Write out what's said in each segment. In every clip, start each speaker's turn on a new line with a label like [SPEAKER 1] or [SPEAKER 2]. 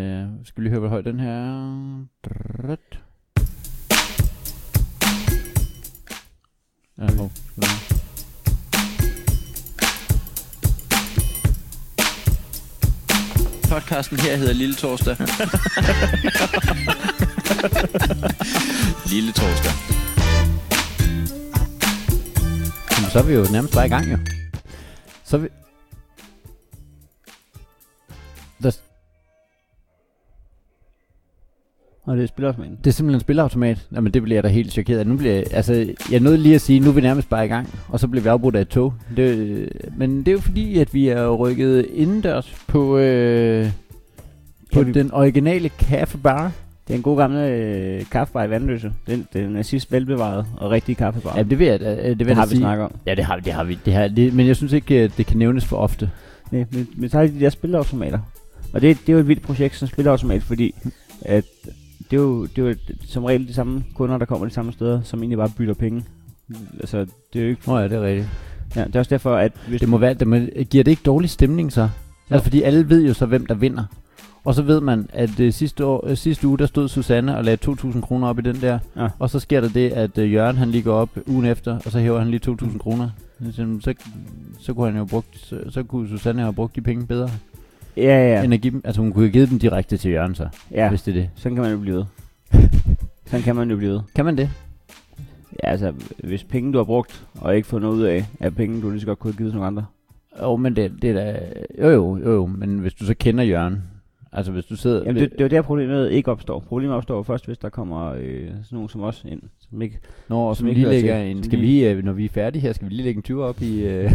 [SPEAKER 1] Øh, skal vi lige høre, hvor høj den her er. Ja, hov.
[SPEAKER 2] Podcasten her hedder Lille Torsdag. Lille Torsdag.
[SPEAKER 1] Jamen, så er vi jo nærmest bare i gang, jo. Så er vi... Der... s-
[SPEAKER 3] Og det spiller også med
[SPEAKER 1] Det er simpelthen en spilleautomat. Jamen, det bliver jeg da helt chokeret af. Nu bliver, altså, jeg nåede lige at sige, nu er vi nærmest bare i gang, og så bliver vi afbrudt af et tog. Det, øh, men det er jo fordi, at vi er rykket indendørs på, øh, på
[SPEAKER 3] Ja, vi-
[SPEAKER 1] den originale kaffebar.
[SPEAKER 3] Det er en god gammel øh, kaffebar i Vandløse. Den, den er sidst velbevaret og rigtig kaffebar.
[SPEAKER 1] Ja, det ved jeg, da- øh, det, vil
[SPEAKER 3] det
[SPEAKER 1] jeg
[SPEAKER 3] har
[SPEAKER 1] da
[SPEAKER 3] vi
[SPEAKER 1] sige.
[SPEAKER 3] snakket om.
[SPEAKER 1] Ja, det har vi, det har vi. Det har, det, men jeg synes ikke, øh, det kan nævnes for ofte.
[SPEAKER 3] Nej, men, men så har de de der spilleautomater. Og det, det er jo et vildt projekt som spilleautomat, fordi at det er jo, det er jo et, som regel de samme kunder, der kommer de samme steder, som egentlig bare bytter penge. Altså, det er jo ikke...
[SPEAKER 1] Nå ja, det er rigtigt.
[SPEAKER 3] Ja, det er også derfor, at hvis
[SPEAKER 1] Det må være, det må, giver det ikke dårlig stemning så? Altså, fordi alle ved jo så, hvem der vinder. Og så ved man, at øh, sidste, år, øh, sidste uge, der stod Susanne og lagde 2.000 kroner op i den der.
[SPEAKER 3] Ja.
[SPEAKER 1] Og så sker der det, at øh, Jørgen han lige går op ugen efter, og så hæver han lige 2.000 kroner. Så, så, så kunne han jo have brugt, så, så kunne Susanne have brugt de penge bedre.
[SPEAKER 3] Ja,
[SPEAKER 1] Ja.
[SPEAKER 3] ja,
[SPEAKER 1] End at give dem, altså hun kunne have givet dem direkte til Jørgen så, ja.
[SPEAKER 3] ja.
[SPEAKER 1] hvis det er det.
[SPEAKER 3] Sådan kan man jo blive ved. Sådan kan man jo blive ved.
[SPEAKER 1] Kan man det?
[SPEAKER 3] Ja, altså, hvis penge du har brugt, og ikke fået noget ud af, er penge, du lige så godt kunne have givet til nogle andre.
[SPEAKER 1] Jo, men det, det er da... Jo, jo, jo, jo, men hvis du så kender Jørgen... Altså, hvis du sidder...
[SPEAKER 3] Jamen, det, det er jo der problemet ikke opstår. Problemet opstår først, hvis der kommer øh, sådan nogen som os ind. Som ikke,
[SPEAKER 1] Nå, og
[SPEAKER 3] som
[SPEAKER 1] som
[SPEAKER 3] ikke
[SPEAKER 1] lige
[SPEAKER 3] hører
[SPEAKER 1] lægger
[SPEAKER 3] til.
[SPEAKER 1] en...
[SPEAKER 3] Som
[SPEAKER 1] Skal vi
[SPEAKER 3] lige-
[SPEAKER 1] lige, øh, når vi er færdige her, skal vi lige lægge en 20 op i... Øh,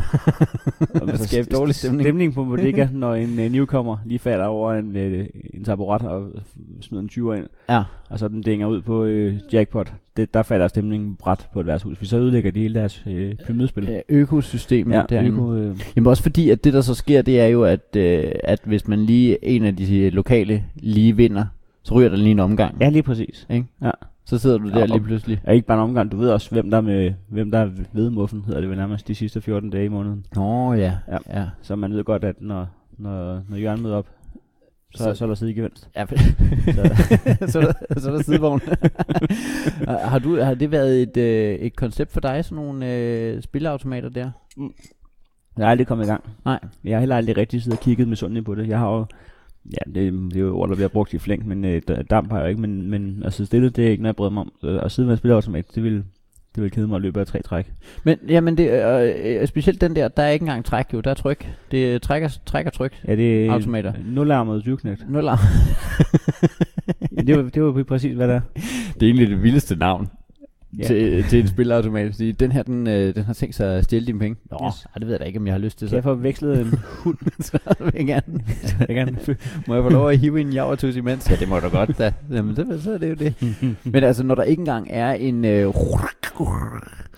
[SPEAKER 1] skabe
[SPEAKER 3] st-
[SPEAKER 1] dårlig
[SPEAKER 3] st-
[SPEAKER 1] stemning.
[SPEAKER 3] Stemning på bodega, når en øh, newcomer lige falder over en, øh, en taburet og smider en 20'er ind,
[SPEAKER 1] ja,
[SPEAKER 3] og så den dænger ud på øh, jackpot. Det, der falder stemningen bræt på et værtshus, for så ødelægger de hele deres øh, pyramidespil.
[SPEAKER 1] øh, økosystemet ja, derinde. Øko.
[SPEAKER 3] øko, øh,
[SPEAKER 1] Jamen også fordi, at det der så sker, det er jo, at, øh, at hvis man lige en af de øh, lokale lige vinder, så ryger der lige en omgang.
[SPEAKER 3] ja, lige præcis.
[SPEAKER 1] Så sidder du der
[SPEAKER 3] Ja,
[SPEAKER 1] lige
[SPEAKER 3] og-
[SPEAKER 1] pludselig.
[SPEAKER 3] Og ikke bare en omgang, du ved også, hvem der er, med, hvem der er ved muffen, hedder det vel nærmest de sidste 14 dage i måneden.
[SPEAKER 1] Nå ja, ja.
[SPEAKER 3] Ja.
[SPEAKER 1] ja.
[SPEAKER 3] Så man ved godt, at når, når, når Jørgen møder op,
[SPEAKER 1] Så-
[SPEAKER 3] så, så, så er der sidegevinst.
[SPEAKER 1] Ja, så, er der, så er der sidevogn. Og har, du, har det været et, øh, et koncept for dig, sådan nogle øh, spilleautomater der?
[SPEAKER 3] Jeg er aldrig kommet i gang.
[SPEAKER 1] Nej.
[SPEAKER 3] Jeg har heller aldrig rigtig siddet og kigget med sundhed på det. Jeg har jo... Ja, det, det er jo ord, der bliver brugt i flæng, men øh, d- damp har jeg jo ikke. Men, men at sidde stille, det er ikke noget, jeg bryder mig om. Så At sidde med en spilautomat, det vil, det vil kede mig at løbe af tre træk.
[SPEAKER 1] Men jamen det, øh, øh, specielt den der, der er ikke engang træk jo, der er tryk. Det er trækker, trækker tryk.
[SPEAKER 3] Ja, det øh, er
[SPEAKER 1] Automater.
[SPEAKER 3] nularmet dyrknægt.
[SPEAKER 1] Nul arm.
[SPEAKER 3] det, var, det var præcis, hvad der er.
[SPEAKER 1] Det er egentlig det vildeste navn
[SPEAKER 3] Ja.
[SPEAKER 1] til, til en spilleautomat. Fordi den her, den, øh, den har tænkt sig at stjæle dine penge. Nå,
[SPEAKER 3] Yes.
[SPEAKER 1] ej, det ved jeg da ikke, om jeg har lyst til.
[SPEAKER 3] Kan jeg
[SPEAKER 1] Så,
[SPEAKER 3] få vekslet en...
[SPEAKER 1] så vil jeg gerne.
[SPEAKER 3] Jeg gerne
[SPEAKER 1] Må jeg få lov at hive en javertus imens? Ja, det må du godt da. Jamen, det, så er det jo det. Men altså, når der ikke engang er en... Øh,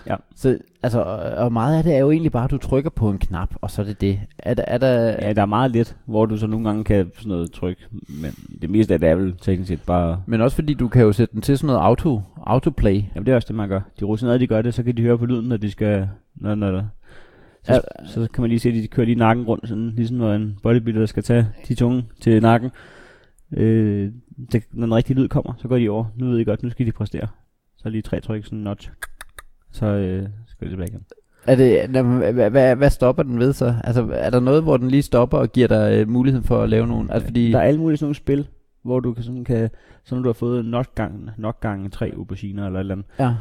[SPEAKER 3] Ja.
[SPEAKER 1] Så, altså, og- og meget af det er jo egentlig bare, at du trykker på en knap, og så er det det. Er der, er der,
[SPEAKER 3] Ja, der er meget lidt, hvor du så nogle gange kan sådan noget tryk, men det meste af det er vel teknisk set bare...
[SPEAKER 1] Men også fordi du kan jo sætte den til sådan noget auto, autoplay.
[SPEAKER 3] Jamen det er også det, man gør. De rutinerede, de gør det, så kan de høre på lyden, når de skal... Når, når, når.
[SPEAKER 1] Ja.
[SPEAKER 3] Så, ja. så, kan man lige se, at de kører lige nakken rundt, sådan, ligesom når en bodybuilder skal tage de tunge til nakken. Øh, det, når den rigtige lyd kommer, så går de over. Nu ved I godt, nu skal de præstere. Så lige tre tryk, sådan notch. Så øh, skal de tilbage igen.
[SPEAKER 1] Er det, nå, men hvad, hvad, hvad stopper den ved så? Altså, er der noget, hvor den lige stopper og giver dig øh, muligheden for at lave nogen? Altså, fordi,
[SPEAKER 3] Der er alle mulige sådan nogle spil, hvor du kan sådan kan... Så når du har fået nok gange, nok gange tre auberginer eller et eller andet,
[SPEAKER 1] ja.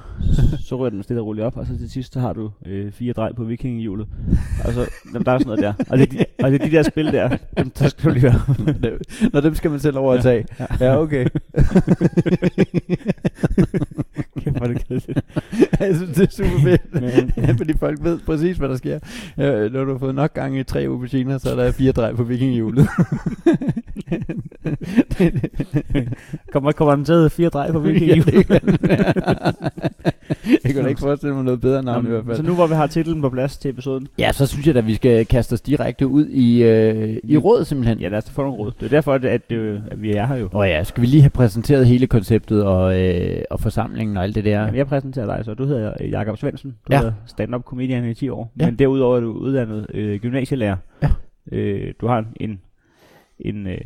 [SPEAKER 3] så ryger den stille og roligt op, og så til sidst, så har du øh, fire drej på vikingehjulet. Og så, Altså, jamen, der er sådan noget der. Og det, er de, og det er de der spil der, dem, der skal du lige høre.
[SPEAKER 1] Nå, dem skal man selv over at tage. Ja, ja okay.
[SPEAKER 3] Kæft, hvor er det kedeligt.
[SPEAKER 1] jeg synes, det er super fedt.
[SPEAKER 3] Men-
[SPEAKER 1] ja, fordi folk ved præcis, hvad der sker. Ja, når du har fået nok gange i tre auberginer, så er der fire drej på vikinghjulet.
[SPEAKER 3] Kommer, kommer den til fire drej på
[SPEAKER 1] Ja,
[SPEAKER 3] vikingehjulet?
[SPEAKER 1] det kan den være. Jeg kunne da ikke forestille mig noget bedre navn i hvert fald.
[SPEAKER 3] så nu hvor vi har titlen på plads til episoden,
[SPEAKER 1] Ja, så synes jeg at vi skal kaste os direkte ud i, øh, i råd simpelthen.
[SPEAKER 3] ja lad os da få nogle råd. Det er derfor, at, at, øh, at vi er her jo.
[SPEAKER 1] Og ja, skal vi lige have præsenteret hele konceptet og, øh, og forsamlingen og alt det der?
[SPEAKER 3] Jamen, jeg præsenterer dig så. Du hedder øh, Jakob Svendsen. Du
[SPEAKER 1] Ja.
[SPEAKER 3] er stand-up comedian i 10 år.
[SPEAKER 1] Ja.
[SPEAKER 3] Men derudover er du uddannet øh, gymnasielærer.
[SPEAKER 1] Ja.
[SPEAKER 3] Øh, du har en, en, øh,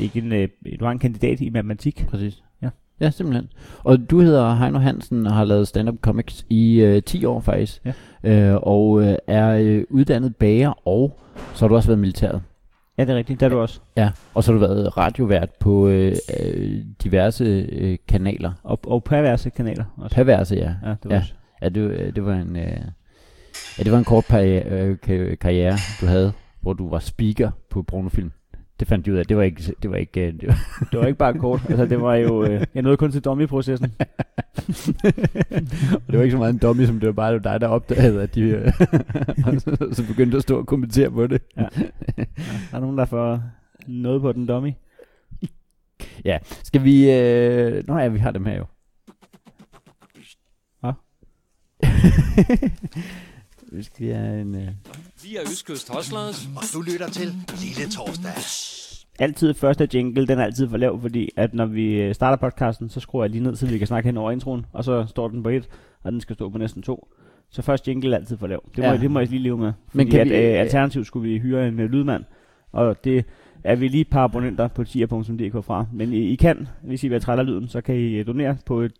[SPEAKER 3] ikke en, øh, du har en kandidat i matematik.
[SPEAKER 1] Præcis.
[SPEAKER 3] Ja.
[SPEAKER 1] Ja, simpelthen. Og du hedder Heino Hansen og har lavet stand-up comics i øh, 10 år faktisk.
[SPEAKER 3] Ja.
[SPEAKER 1] Øh, og øh, er øh, uddannet bager, og så har du også været i militæret.
[SPEAKER 3] Ja, det er rigtigt. Der er du også.
[SPEAKER 1] Ja. Og så har du været radiovært på øh, øh, diverse øh, kanaler.
[SPEAKER 3] Og, og perverse kanaler også.
[SPEAKER 1] Perverse, ja.
[SPEAKER 3] ja, det var
[SPEAKER 1] ja.
[SPEAKER 3] også.
[SPEAKER 1] Ja, det, øh, det var en... Øh, ja, det var en kort pari- øh, ka- karriere, du havde, hvor du var speaker på pornofilm. Det fandt de ud af. Det var ikke... Det var ikke øh, det var,
[SPEAKER 3] Det var ikke bare kort. altså, det var jo... Øh, jeg nåede kun til dummy-processen.
[SPEAKER 1] det var ikke så meget en dummy, som det var bare det var dig, der opdagede, at de... Øh, og så, så begyndte du at stå og kommentere på det.
[SPEAKER 3] Der er nogen, der får noget på den dummy.
[SPEAKER 1] Skal vi... Øh, nå ja, vi har dem her jo.
[SPEAKER 3] Hva?
[SPEAKER 1] vi skal lige have en... Øh,
[SPEAKER 2] Vi er Østkyst Hoslers.
[SPEAKER 4] Og du lytter til Lille Torsdag.
[SPEAKER 3] Altid første jingle, den er altid for lav, fordi at når vi øh, starter podcasten, så skruer jeg lige ned, så vi kan snakke hen over introen, og så står den på et, og den skal stå på næsten to. Så først jingle er altid for lav. Det må,
[SPEAKER 1] Ja.
[SPEAKER 3] ja. det må jeg lige leve med.
[SPEAKER 1] Men
[SPEAKER 3] Fordi
[SPEAKER 1] kan
[SPEAKER 3] at,
[SPEAKER 1] vi-
[SPEAKER 3] øh, alternativt skulle vi hyre en øh, lydmand, og det er vi lige et par abonnenter på tier.dk fra. Men I, I kan, hvis I bliver trætte af lyden, så kan I øh, donere på et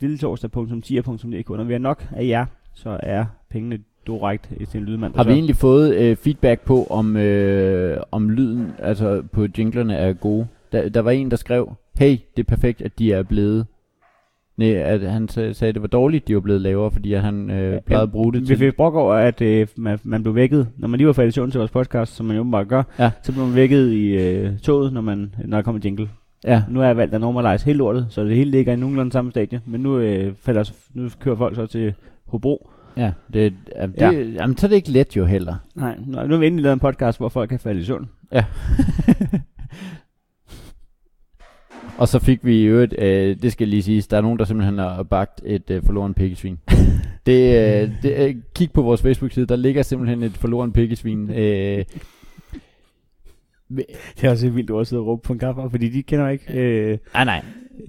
[SPEAKER 3] lilletorsdag.tier.dk. Når vi har nok af jer, så er pengene direkte til en lydmand. der
[SPEAKER 1] har vi
[SPEAKER 3] så-
[SPEAKER 1] egentlig fået øh, feedback på, om, øh, om lyden altså på jinglerne er gode? Der, der var en, der skrev, hey, det er perfekt, at de er blevet... Nej, at han sa- sagde, at det var dårligt, de var blevet lavere, fordi at han øh, plejede at bruge det
[SPEAKER 3] Vi
[SPEAKER 1] til...
[SPEAKER 3] fik brok over, at øh, man, man blev vækket, når man lige var faldet i søvn til vores podcast, som man jo bare gør,
[SPEAKER 1] Ja.
[SPEAKER 3] så blev man vækket i øh, toget, når, man, når der kom en jingle.
[SPEAKER 1] Ja,
[SPEAKER 3] Nu har jeg valgt at normalize hele lortet, så det hele ligger i nogenlunde samme stadie, men nu, øh, falder, så- nu kører folk så til Hobro.
[SPEAKER 1] ja, det, jamen, det,
[SPEAKER 3] Ja.
[SPEAKER 1] jamen, så er det ikke let jo heller.
[SPEAKER 3] Nej, nu, nu har vi endelig lavet en podcast, hvor folk kan falde i søvn.
[SPEAKER 1] Og så fik vi i øvrigt, øh, det skal lige siges, der er nogen, der simpelthen har bagt et øh, forloren pikkesvin. det, øh, det, øh, kig på vores Facebook-side, der ligger simpelthen et forloren pikkesvin. Øh,
[SPEAKER 3] Det er også et vildt ord at sidde og råbe på en kaffe, fordi de kender ikke. Øh,
[SPEAKER 1] nej, nej.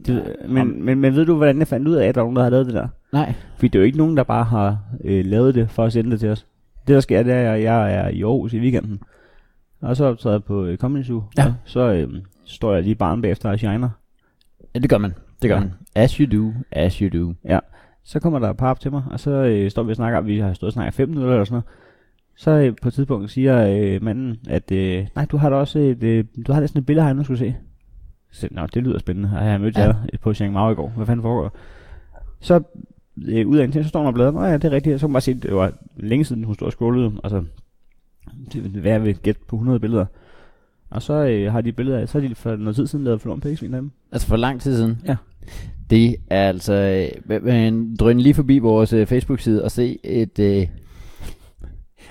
[SPEAKER 3] det, øh, men, men, men ved du, hvordan jeg fandt ud af, at der var nogen, der havde lavet det der?
[SPEAKER 1] Nej.
[SPEAKER 3] Fordi det er jo ikke nogen, der bare har øh, lavet det for at sende det til os. Det der sker, det er, at jeg er i Aarhus i weekenden. Og så optræder jeg på øh, Comedy Zoo.
[SPEAKER 1] Ja.
[SPEAKER 3] Og Så øh, står jeg lige barn bagefter og shiner.
[SPEAKER 1] Ja, det gør man. Det gør
[SPEAKER 3] Ja.
[SPEAKER 1] man. As you do, as you do.
[SPEAKER 3] Så kommer der et par op til mig, og så øh, står vi og snakker. Vi har stået og snakket i fem minutter eller sådan noget. Så øh, på et tidspunkt siger øh, manden, at øh, nej, du har da også et, øh, du har da sådan et billede herinde, du skulle se. Så, Nå, det lyder spændende. Og jeg mødte
[SPEAKER 1] Ja.
[SPEAKER 3] ja. jer på Chiang Mao i går. Hvad fanden foregår der? Så øh, ud af en ting, så står hun og bladrer. Nå ja, det er rigtigt. Så kan man bare se, det var længe siden, hun stod og scrollede. Altså, det vil være ved gæt på 100 billeder. Og så øh, har de billeder af, så har de for noget tid siden lavet florm på af dem.
[SPEAKER 1] Altså for lang tid siden.
[SPEAKER 3] Ja.
[SPEAKER 1] Det er altså... øh, men- Men drøn lige forbi vores øh, Facebook-side og se et... Øh,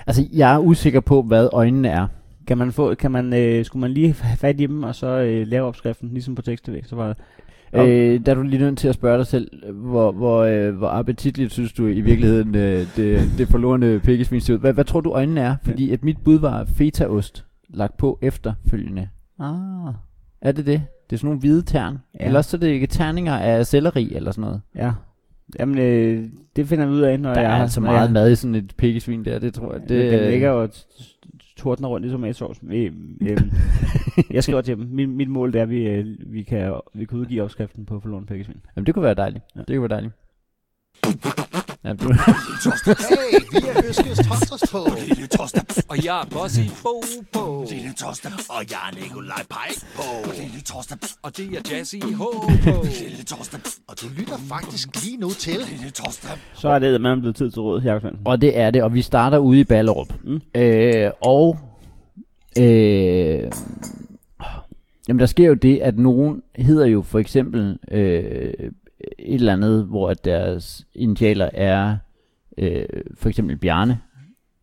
[SPEAKER 1] altså, jeg er usikker på, hvad øjnene er.
[SPEAKER 3] Kan man få, kan man, øh, skulle man lige have fat i dem, og så øh, lave opskriften, ligesom på tekst så var Ja.
[SPEAKER 1] Øh, der er du lige nødt til at spørge dig selv, hvor, hvor, øh, hvor appetitligt synes du i virkeligheden øh, det, det forlorene pikkesvin ser ud. Hvad, hvad tror du øjnene er? Fordi at mit bud var fetaost lagt på efterfølgende.
[SPEAKER 3] Ah.
[SPEAKER 1] Er det det? Det er sådan nogle hvide tern. Ja.
[SPEAKER 3] Ja.
[SPEAKER 1] Ellers så er det ikke terninger af selleri eller sådan noget.
[SPEAKER 3] Ja. Jamen, øh, det finder vi ud af, når
[SPEAKER 1] Der
[SPEAKER 3] jeg...
[SPEAKER 1] er altså
[SPEAKER 3] når
[SPEAKER 1] meget
[SPEAKER 3] jeg,
[SPEAKER 1] mad i sådan et pikkesvin der, det tror jeg.
[SPEAKER 3] Det, det, den ligger og t- t- tordner rundt i tomatsovs. Øh, øh, jeg skriver til dem. Mit, mit mål det er, at vi, øh, vi, kan, vi kan udgive opskriften på forlorene pækkesvin.
[SPEAKER 1] Jamen, det kunne være dejligt. Ja.
[SPEAKER 3] Ja.
[SPEAKER 1] Det kunne være dejligt. Ja, du,
[SPEAKER 4] Hey, vi er Øskes Torsdagstog. Lille Torsdag.
[SPEAKER 2] Og jeg er Bossy Bo på.
[SPEAKER 4] Lille Torsdag. Og jeg er Nikolaj Pajk på. Lille Torsdag.
[SPEAKER 2] Og det er Jazzy H på.
[SPEAKER 4] Lille Torsdag. Og du lytter faktisk lige nu til Lille Torsdag.
[SPEAKER 3] Så er det, at man blevet tid til råd, Jakob Svendsen.
[SPEAKER 1] og det er det, og vi starter ude i Ballerup. Mm.
[SPEAKER 3] Mm.
[SPEAKER 1] Øh, og øh, jamen, der sker jo det, at nogen hedder jo for eksempel øh, et eller andet, hvor at deres initialer er øh, for eksempel Bjarne,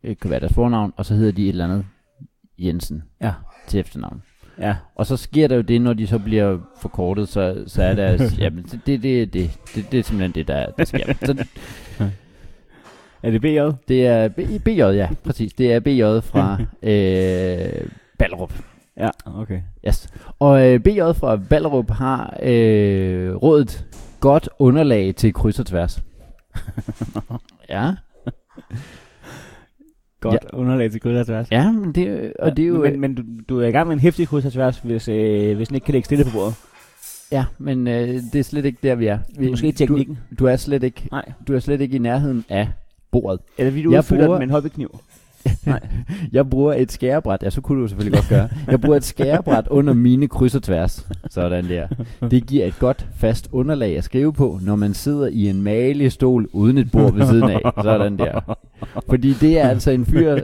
[SPEAKER 1] øh, kan være deres fornavn, og så hedder de et eller andet Jensen
[SPEAKER 3] Ja.
[SPEAKER 1] til efternavn.
[SPEAKER 3] Ja.
[SPEAKER 1] Og så sker der jo det, når de så bliver forkortet, så, så er der... jamen, det, det, det, det, det, det er simpelthen det, der, der sker. Så
[SPEAKER 3] Er det BJ?
[SPEAKER 1] det er B- BJ, ja, præcis. Det er BJ fra øh, Ballerup.
[SPEAKER 3] Ja, okay.
[SPEAKER 1] Yes. Og øh, BJ fra Ballerup har øh, rådet godt underlag til kryds og tværs. ja.
[SPEAKER 3] godt ja. underlag til kryds og tværs.
[SPEAKER 1] Ja, men det, og det er jo...
[SPEAKER 3] Men, men du, du er i gang med en hæftig kryds og tværs, hvis, øh, hvis den ikke kan ligge stille på bordet.
[SPEAKER 1] Ja, men øh, det er slet ikke der, vi er. Vi,
[SPEAKER 3] Måske teknikken.
[SPEAKER 1] Du, du, er slet ikke,
[SPEAKER 3] Nej.
[SPEAKER 1] du er slet ikke i nærheden af bordet.
[SPEAKER 3] Eller vi du
[SPEAKER 1] Jeg
[SPEAKER 3] udfylder
[SPEAKER 1] bruger-
[SPEAKER 3] den med en hobbykniv.
[SPEAKER 1] Jeg bruger et skærebræt. Ja, så kunne du jo selvfølgelig godt gøre. Jeg bruger et skærebræt under mine kryds og tværs. Sådan der. Det giver et godt fast underlag at skrive på, når man sidder i en malig stol uden et bord ved siden af. Sådan der. Fordi det er altså en fyr,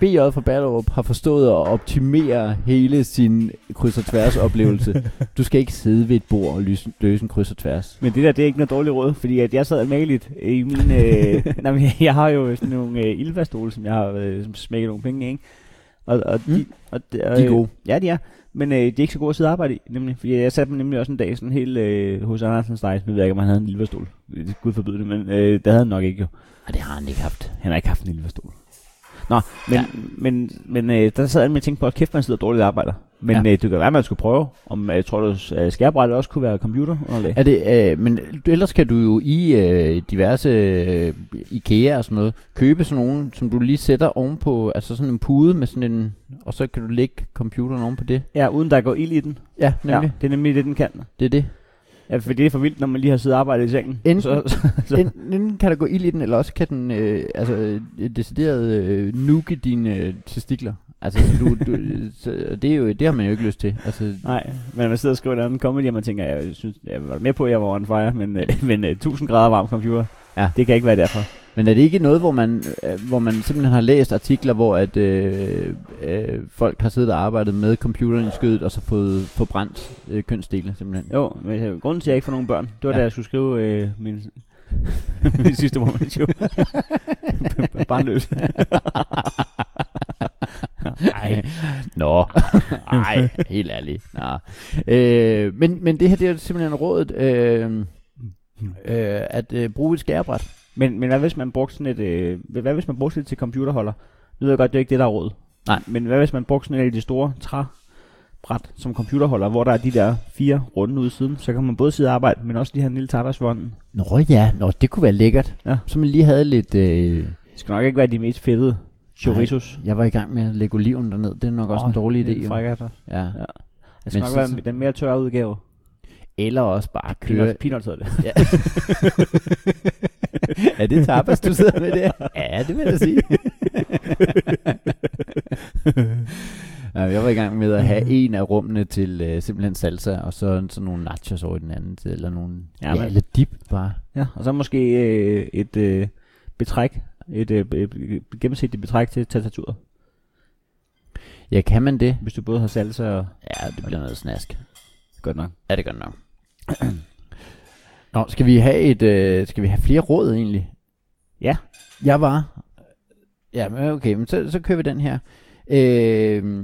[SPEAKER 1] BJ fra Ballerup har forstået at optimere hele sin kryds og tværs oplevelse. Du skal ikke sidde ved et bord og lyse, løse en kryds og tværs.
[SPEAKER 3] Men det der, det er ikke noget dårligt råd, fordi at jeg sad almindeligt i min... Øh, nej, men jeg- jeg har jo sådan nogle øh, ilvastole, som jeg har øh, som smækket nogle penge i, ikke? Og, og, de,
[SPEAKER 1] Mm.
[SPEAKER 3] og, de,
[SPEAKER 1] De er gode.
[SPEAKER 3] Ja, de er. Men øh, de er ikke så gode at sidde og arbejde i, nemlig. Fordi jeg satte dem nemlig også en dag sådan helt øh, hos Andersen Stejs. Nu ved jeg ikke, om han havde en ilvastol. Gud forbyde det, men øh, det havde han nok ikke jo.
[SPEAKER 1] Og det har han ikke haft.
[SPEAKER 3] Han har ikke haft en ilvastol. Nå, men,
[SPEAKER 1] Ja.
[SPEAKER 3] ja. men, men øh, der sad jeg med at tænke på, at kæft, man sidder dårligt og arbejder. Men
[SPEAKER 1] Ja.
[SPEAKER 3] ja. øh, det kan være, at man skulle prøve, om øh, jeg tror, at øh, skærbrættet også kunne være computer. Eller?
[SPEAKER 1] Er det, øh, men ellers kan du jo i øh, diverse øh, IKEA og sådan noget, købe sådan nogle, som du lige sætter ovenpå, altså sådan en pude med sådan en, og så kan du lægge computeren ovenpå det.
[SPEAKER 3] Ja, uden der går ild i den.
[SPEAKER 1] Ja, nemlig.
[SPEAKER 3] Ja, det er nemlig det, den kan.
[SPEAKER 1] Ja. Det er det.
[SPEAKER 3] Ja, for det er for vildt, når man lige har siddet og arbejdet i sengen.
[SPEAKER 1] Enten-
[SPEAKER 3] Så, så, så,
[SPEAKER 1] Enten enten kan der gå ild i den, eller også kan den øh, altså, øh, decideret øh, nuke dine øh, testikler. Altså, så du, du, så, og det, er jo, det har man jo ikke lyst til. Altså,
[SPEAKER 3] nej, men man sidder og skriver en anden comedy, og man tænker, jeg, synes, jeg var med på, at jeg var on fire, men, øh, men øh, 1000 grader varm computer,
[SPEAKER 1] Ja.
[SPEAKER 3] det kan ikke være derfor.
[SPEAKER 1] Men er det ikke noget, hvor man, øh, hvor man simpelthen har læst artikler, hvor at øh, øh, folk har siddet og arbejdet med computeren i skødet, og så fået forbrændt øh, kønsdele simpelthen?
[SPEAKER 3] Jo, men øh, grunden til, at jeg ikke får nogen børn, det var
[SPEAKER 1] Ja.
[SPEAKER 3] ja. da jeg skulle skrive øh, min, min sidste one show. Barnløs.
[SPEAKER 1] Nej. Nå. Nej, helt ærligt. Nå. Øh, men, men det her, det er simpelthen rådet, øh, øh, at øh, bruge et skærebræt.
[SPEAKER 3] Men, men hvad hvis man brugte sådan et, øh, hvad hvis man brugte det til computerholder? Nu ved jeg godt, det er ikke det, der er råd.
[SPEAKER 1] Nej.
[SPEAKER 3] Men hvad hvis man brugte sådan et af de store træbræt som computerholder, hvor der er de der fire runde ude i siden, så kan man både sidde og arbejde, men også lige have en lille tapas for hånden.
[SPEAKER 1] Nå ja, Nå, det kunne være lækkert.
[SPEAKER 3] Ja.
[SPEAKER 1] Så man lige havde lidt... Øh,
[SPEAKER 3] Det skal nok ikke være de mest fedede chorizos.
[SPEAKER 1] jeg var i gang med at lægge oliven derned. Det er nok også oh, en dårlig idé. jo.
[SPEAKER 3] Fræk altså.
[SPEAKER 1] Ja.
[SPEAKER 3] Ja. Det skal
[SPEAKER 1] Men
[SPEAKER 3] nok
[SPEAKER 1] så-
[SPEAKER 3] være den mere tørre udgave.
[SPEAKER 1] Eller også bare køre
[SPEAKER 3] Peanuts, peanuts hedder det.
[SPEAKER 1] Ja. er det tapas, du sidder med der? Ja, det vil jeg sige. Nå, jeg var i gang med at have en af rummene til øh, simpelthen salsa, og så sådan nogle nachos over i den anden, til, eller nogle,
[SPEAKER 3] Ja,
[SPEAKER 1] ja, ja
[SPEAKER 3] men-
[SPEAKER 1] eller dip bare.
[SPEAKER 3] Ja, og så måske øh, et øh, betræk, et øh, øh, gennemsigtigt betræk til tastaturet,
[SPEAKER 1] Ja, kan man det?
[SPEAKER 3] hvis du både har salsa og
[SPEAKER 1] Ja, det bliver noget snask.
[SPEAKER 3] godt nok.
[SPEAKER 1] Ja, det gør det nok. Nå, skal vi have et, øh, skal vi have flere råd egentlig?
[SPEAKER 3] Ja.
[SPEAKER 1] Jeg var. Ja, men okay, men så, så kører vi den her. Øh,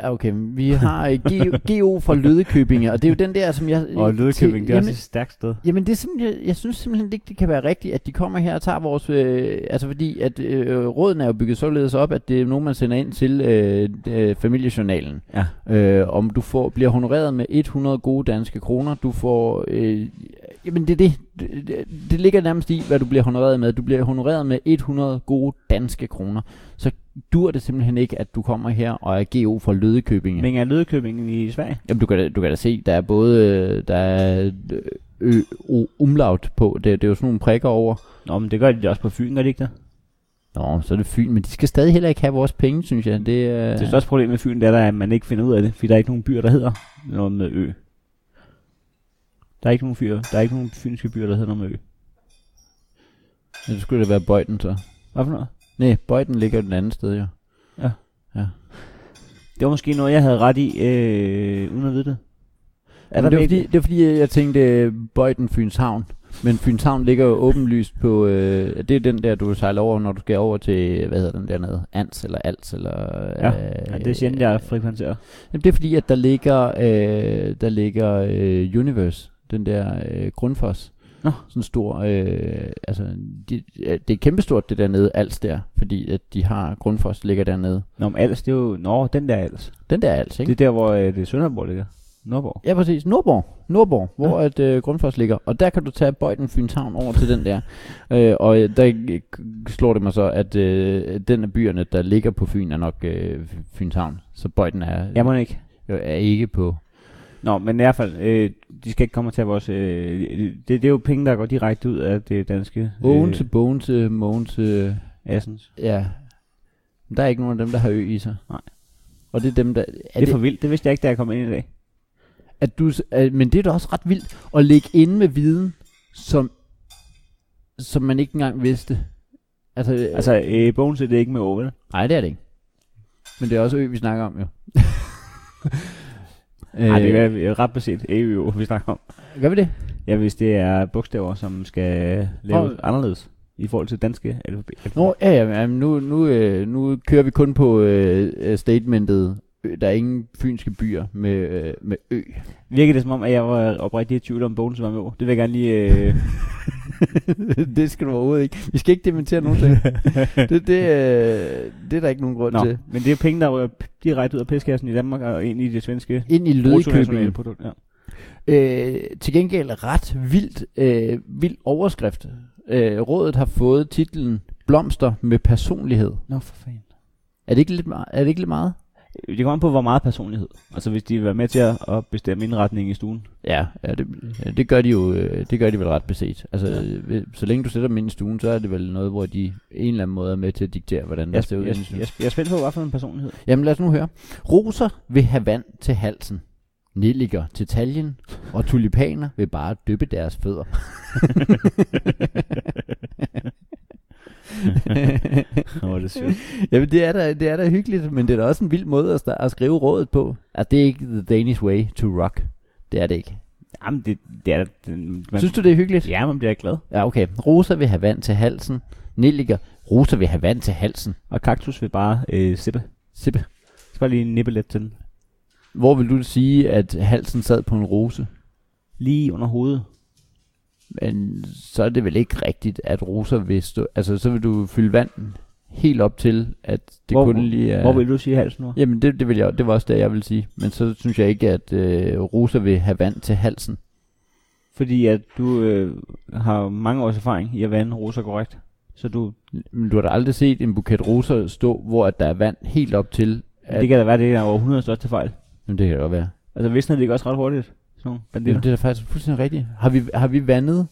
[SPEAKER 1] okay, men vi har øh, Geo, Geo fra Lødekøbinge, og det er jo den der, som jeg...
[SPEAKER 3] Og Lødekøbing, det er også
[SPEAKER 1] jamen,
[SPEAKER 3] et stærkt sted.
[SPEAKER 1] Jamen det er simpelthen, jeg synes simpelthen ikke, det kan være rigtigt, at de kommer her og tager vores... Øh, altså fordi, at øh, råden er jo bygget således op, at det er nogen, man sender ind til øh, øh, familiejournalen.
[SPEAKER 3] Ja.
[SPEAKER 1] Øh, om du får, bliver honoreret med 100 gode danske kroner, du får... Øh, jamen det er det. Det- det. Det ligger nærmest i, hvad du bliver honoreret med. Du bliver honoreret med 100 gode danske kroner. Så dur det simpelthen ikke, at du kommer her og er GO fra Lødekøbinge.
[SPEAKER 3] Men er Lødekøbing i Sverige?
[SPEAKER 1] Jamen, du kan, da- du kan da se, der er både øh, der er øh, ø, o, umlaut på. Det, det er jo sådan nogle prikker over.
[SPEAKER 3] Nå, men det gør de da også på Fyn, gør de ikke det?
[SPEAKER 1] Nå, så er det Fyn, men de skal stadig heller ikke have vores penge, synes jeg. Det, øh,
[SPEAKER 3] Det største problem med Fyn, det er, da, at man ikke finder ud af det, fordi der er ikke nogen byer, der hedder noget med ø. Der er ikke nogen, fyr, der er ikke nogen fynske byer, der hedder noget med ø.
[SPEAKER 1] ja, det skulle da være Bøjden så.
[SPEAKER 3] Hvad for noget?
[SPEAKER 1] Nej, Bøjden ligger jo den anden sted, jo.
[SPEAKER 3] Det var måske noget, jeg havde ret i, øh, uden at vide det.
[SPEAKER 1] Er der det, var fordi, det var fordi, øh, jeg tænkte øh, Bøjden, Fyns Havn. Men Fyns Havn ligger jo åbenlyst på... Øh, det er den der, du sejler over, når du skal over til... Hvad hedder den dernede? Ans eller Als eller...
[SPEAKER 3] Ja,
[SPEAKER 1] øh,
[SPEAKER 3] Ja, det er sjældent, jeg frekventerer.
[SPEAKER 1] Jamen, det er fordi, at der ligger, øh, der ligger øh, Universe, den der øh, grundfos.
[SPEAKER 3] Nå.
[SPEAKER 1] Sådan en stor, øh, altså, de, ja, det er kæmpestort det dernede, Als der, fordi at de har grundfos ligger dernede.
[SPEAKER 3] Nå, men Als, det er jo... Nå, den der Als.
[SPEAKER 1] Den der Als, ikke?
[SPEAKER 3] Det er der, hvor øh, det er Sønderborg ligger. Norborg.
[SPEAKER 1] Ja, præcis. Nordborg. Nordborg, hvor ja. at, øh, Grundfos ligger. Og der kan du tage Bøjden Fyns Havn over til den der. Øh, og øh, der øh, slår det mig så, at øh, den af byerne, der ligger på Fyn, er nok øh, Fyns Havn. Så Bøjden er,
[SPEAKER 3] Ja, må ikke.
[SPEAKER 1] er ikke på...
[SPEAKER 3] Nå, men i hvert fald, øh, de skal ikke komme til vores... Øh, det, det er jo penge, der går direkte ud af det danske... øh,
[SPEAKER 1] Odense, Bogense, Mogense...
[SPEAKER 3] Assens.
[SPEAKER 1] Ja. Men Der er ikke nogen af dem, der har ø i sig.
[SPEAKER 3] Nej.
[SPEAKER 1] Og det er dem, der... Er
[SPEAKER 3] Er det er for vildt. Det vidste jeg ikke, da jeg kom ind i dag.
[SPEAKER 1] at du, s- at, men det er da også ret vildt at ligge inde med viden, som, som man ikke engang vidste. Altså, altså,
[SPEAKER 3] Altså, øh, Bogense, det er ikke med O, vel?
[SPEAKER 1] nej, det er det ikke. Men det er også ø, vi snakker om jo.
[SPEAKER 3] Nej, det
[SPEAKER 1] gør,
[SPEAKER 3] er øh, ret beset EU, vi snakker om.
[SPEAKER 1] Øh, gør vi det?
[SPEAKER 3] Ja, hvis det er bogstaver, som skal laves
[SPEAKER 1] Nå.
[SPEAKER 3] anderledes i forhold til danske alfabet.
[SPEAKER 1] Nå, ja, ja, ja men nu, nu, øh, nu kører vi kun på øh, øh, statementet, ø, der er ingen fynske byer med, øh, med ø.
[SPEAKER 3] Virker det som om, at jeg var oprigtigt i tvivl om Bogense var med O? Det vil jeg gerne lige... Øh,
[SPEAKER 1] det skal du overhovedet ikke. Vi skal ikke dementere nogen ting. det, det, øh, det er der ikke nogen grund
[SPEAKER 3] Nå,
[SPEAKER 1] til.
[SPEAKER 3] men det er penge, der ryger p- direkte ud af pæskassen i Danmark og ind i det svenske
[SPEAKER 1] Ind i
[SPEAKER 3] bruttonationale
[SPEAKER 1] Lødekøbing.
[SPEAKER 3] produkt. Ja.
[SPEAKER 1] Øh, til gengæld ret vildt, øh, vild overskrift. Øh, rådet har fået titlen Blomster med personlighed.
[SPEAKER 3] Nå, for fanden.
[SPEAKER 1] Er det ikke lidt, me- er det ikke lidt meget?
[SPEAKER 3] Det kommer an på, hvor meget personlighed. Altså, hvis de vil være med til at at bestemme indretningen i stuen.
[SPEAKER 1] Ja, ja det, ja, det gør de jo øh, det gør de vel ret beset. Altså, ja. så længe du sætter dem ind i stuen, så er det vel noget, hvor de en eller anden måde er med til at diktere, hvordan der
[SPEAKER 3] Jeg,
[SPEAKER 1] ser ud.
[SPEAKER 3] jeg,
[SPEAKER 1] inde i
[SPEAKER 3] jeg,
[SPEAKER 1] stuen.
[SPEAKER 3] jeg, jeg er spændt på, hvad for en personlighed.
[SPEAKER 1] Jamen lad os nu høre. Roser vil have vand til halsen. Nelliker til taljen, og tulipaner vil bare dyppe deres fødder.
[SPEAKER 3] Nå, det er sødt.
[SPEAKER 1] Jamen det er, da, det er da hyggeligt, men det er da også en vild måde at, sta- at skrive rådet på. Altså det er ikke the Danish way to rock. Det er det ikke.
[SPEAKER 3] Jamen, det, det er den, man,
[SPEAKER 1] Man, Synes du det er hyggeligt?
[SPEAKER 3] Ja, man bliver glad.
[SPEAKER 1] Ja, okay. Rosa vil have vand til halsen. Nelliker, Rosa vil have vand til halsen.
[SPEAKER 3] Og kaktus vil bare øh, sippe.
[SPEAKER 1] Sippe.
[SPEAKER 3] Jeg skal bare lige nippe lidt til den.
[SPEAKER 1] Hvor vil du sige, at halsen sad på en rose?
[SPEAKER 3] Lige under hovedet.
[SPEAKER 1] Men så er det vel ikke rigtigt, at Rosa vil stå... Altså, så vil du fylde vand helt op til, at det
[SPEAKER 3] Hvor-
[SPEAKER 1] kun lige er...
[SPEAKER 3] Ja. Hvor vil du sige halsen nu?
[SPEAKER 1] Jamen, det, det, vil jeg, det var også det, jeg ville sige. Men så synes jeg ikke, at øh, Rosa vil have vand til halsen.
[SPEAKER 3] Fordi at du øh, har mange års erfaring i at vande roser korrekt. Så du,
[SPEAKER 1] Men du har da aldrig set en buket roser stå, hvor at der er vand helt op til... At,
[SPEAKER 3] det kan da være, det er århundredes største fejl.
[SPEAKER 1] Jamen, det kan det godt være.
[SPEAKER 3] Altså visner det ikke også ret hurtigt? Sådan nogle
[SPEAKER 1] Det,
[SPEAKER 3] banditter.
[SPEAKER 1] det er da faktisk fuldstændig rigtigt. Har vi, har vi vandet?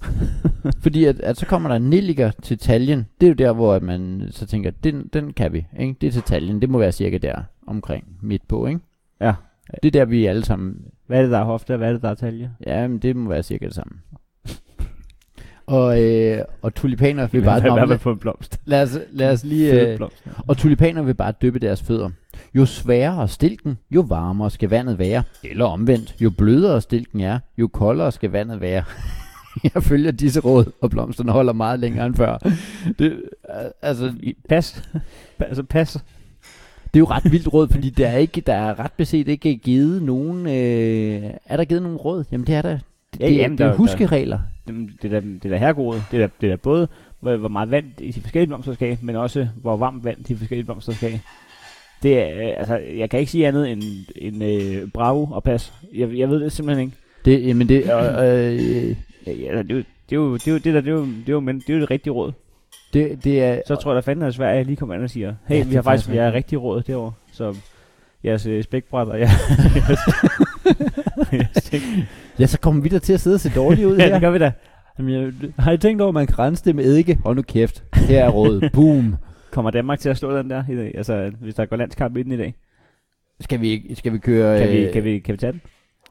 [SPEAKER 1] Fordi at, at så kommer der nelliker til taljen. Det er jo der, hvor at man så tænker, den, den kan vi. Ikke? Det er til taljen. Det må være cirka der omkring midt på. Ikke?
[SPEAKER 3] Ja.
[SPEAKER 1] Det er der, vi alle sammen...
[SPEAKER 3] Hvad er det, der er hofte, og hvad er det, der er talje?
[SPEAKER 1] Ja, men det må være cirka det samme. og, øh, og tulipaner vil bare... Nå, men lad,
[SPEAKER 3] på en blomst.
[SPEAKER 1] lad, os, lad os lige...
[SPEAKER 3] Fed
[SPEAKER 1] Øh,
[SPEAKER 3] blomst.
[SPEAKER 1] og tulipaner vil bare dyppe deres fødder. Jo sværere stilken, jo varmere skal vandet være. Eller omvendt, jo blødere stilken er, jo koldere skal vandet være. Jeg følger disse råd, og blomsterne holder meget længere end før. Det, øh, altså,
[SPEAKER 3] I- Pas. altså pas.
[SPEAKER 1] det er jo ret vildt råd, fordi der er, ikke, der er ret beset ikke givet nogen... Øh, er der givet nogen råd? Jamen det er der. Det,
[SPEAKER 3] Ja,
[SPEAKER 1] det,
[SPEAKER 3] jamen,
[SPEAKER 1] det
[SPEAKER 3] der-
[SPEAKER 1] er
[SPEAKER 3] der-
[SPEAKER 1] huskeregler.
[SPEAKER 3] Jamen, Det er da, det er da herregode. Det er da, det er da både, hvor, hvor meget vand i de forskellige blomster skal have, men også hvor varmt vand de forskellige blomster skal have. Det er, øh, altså, jeg kan ikke sige andet end, end øh, bravo og pas. Jeg, jeg ved det simpelthen ikke.
[SPEAKER 1] Det, jamen det, øh, øh,
[SPEAKER 3] Ja, ja, det, er jo, det, er jo, det er jo det der, det er jo, det er jo, men, det er jo det rigtige råd.
[SPEAKER 1] det, det er...
[SPEAKER 3] Så tror jeg da fanden, at Sverige lige kommer ind og siger, hey,
[SPEAKER 1] Ja,
[SPEAKER 3] ja,
[SPEAKER 1] det
[SPEAKER 3] vi har
[SPEAKER 1] er
[SPEAKER 3] faktisk
[SPEAKER 1] faktisk
[SPEAKER 3] vi har rigtig råd derovre, så jeres øh, spækbræt og jeres, jeres
[SPEAKER 1] Ja, så kommer vi der til at sidde og se dårlige ud
[SPEAKER 3] ja,
[SPEAKER 1] her.
[SPEAKER 3] det gør vi da.
[SPEAKER 1] Jamen, jeg, har I tænkt over, at man kan rense det med eddike? Hold nu kæft. Her er rådet. Boom.
[SPEAKER 3] Kommer Danmark til at slå den der i dag? Altså, hvis der går landskamp i den i dag.
[SPEAKER 1] Skal vi, ikke- skal vi køre...
[SPEAKER 3] Kan, vi,
[SPEAKER 1] øh,
[SPEAKER 3] kan, vi, kan vi tage den?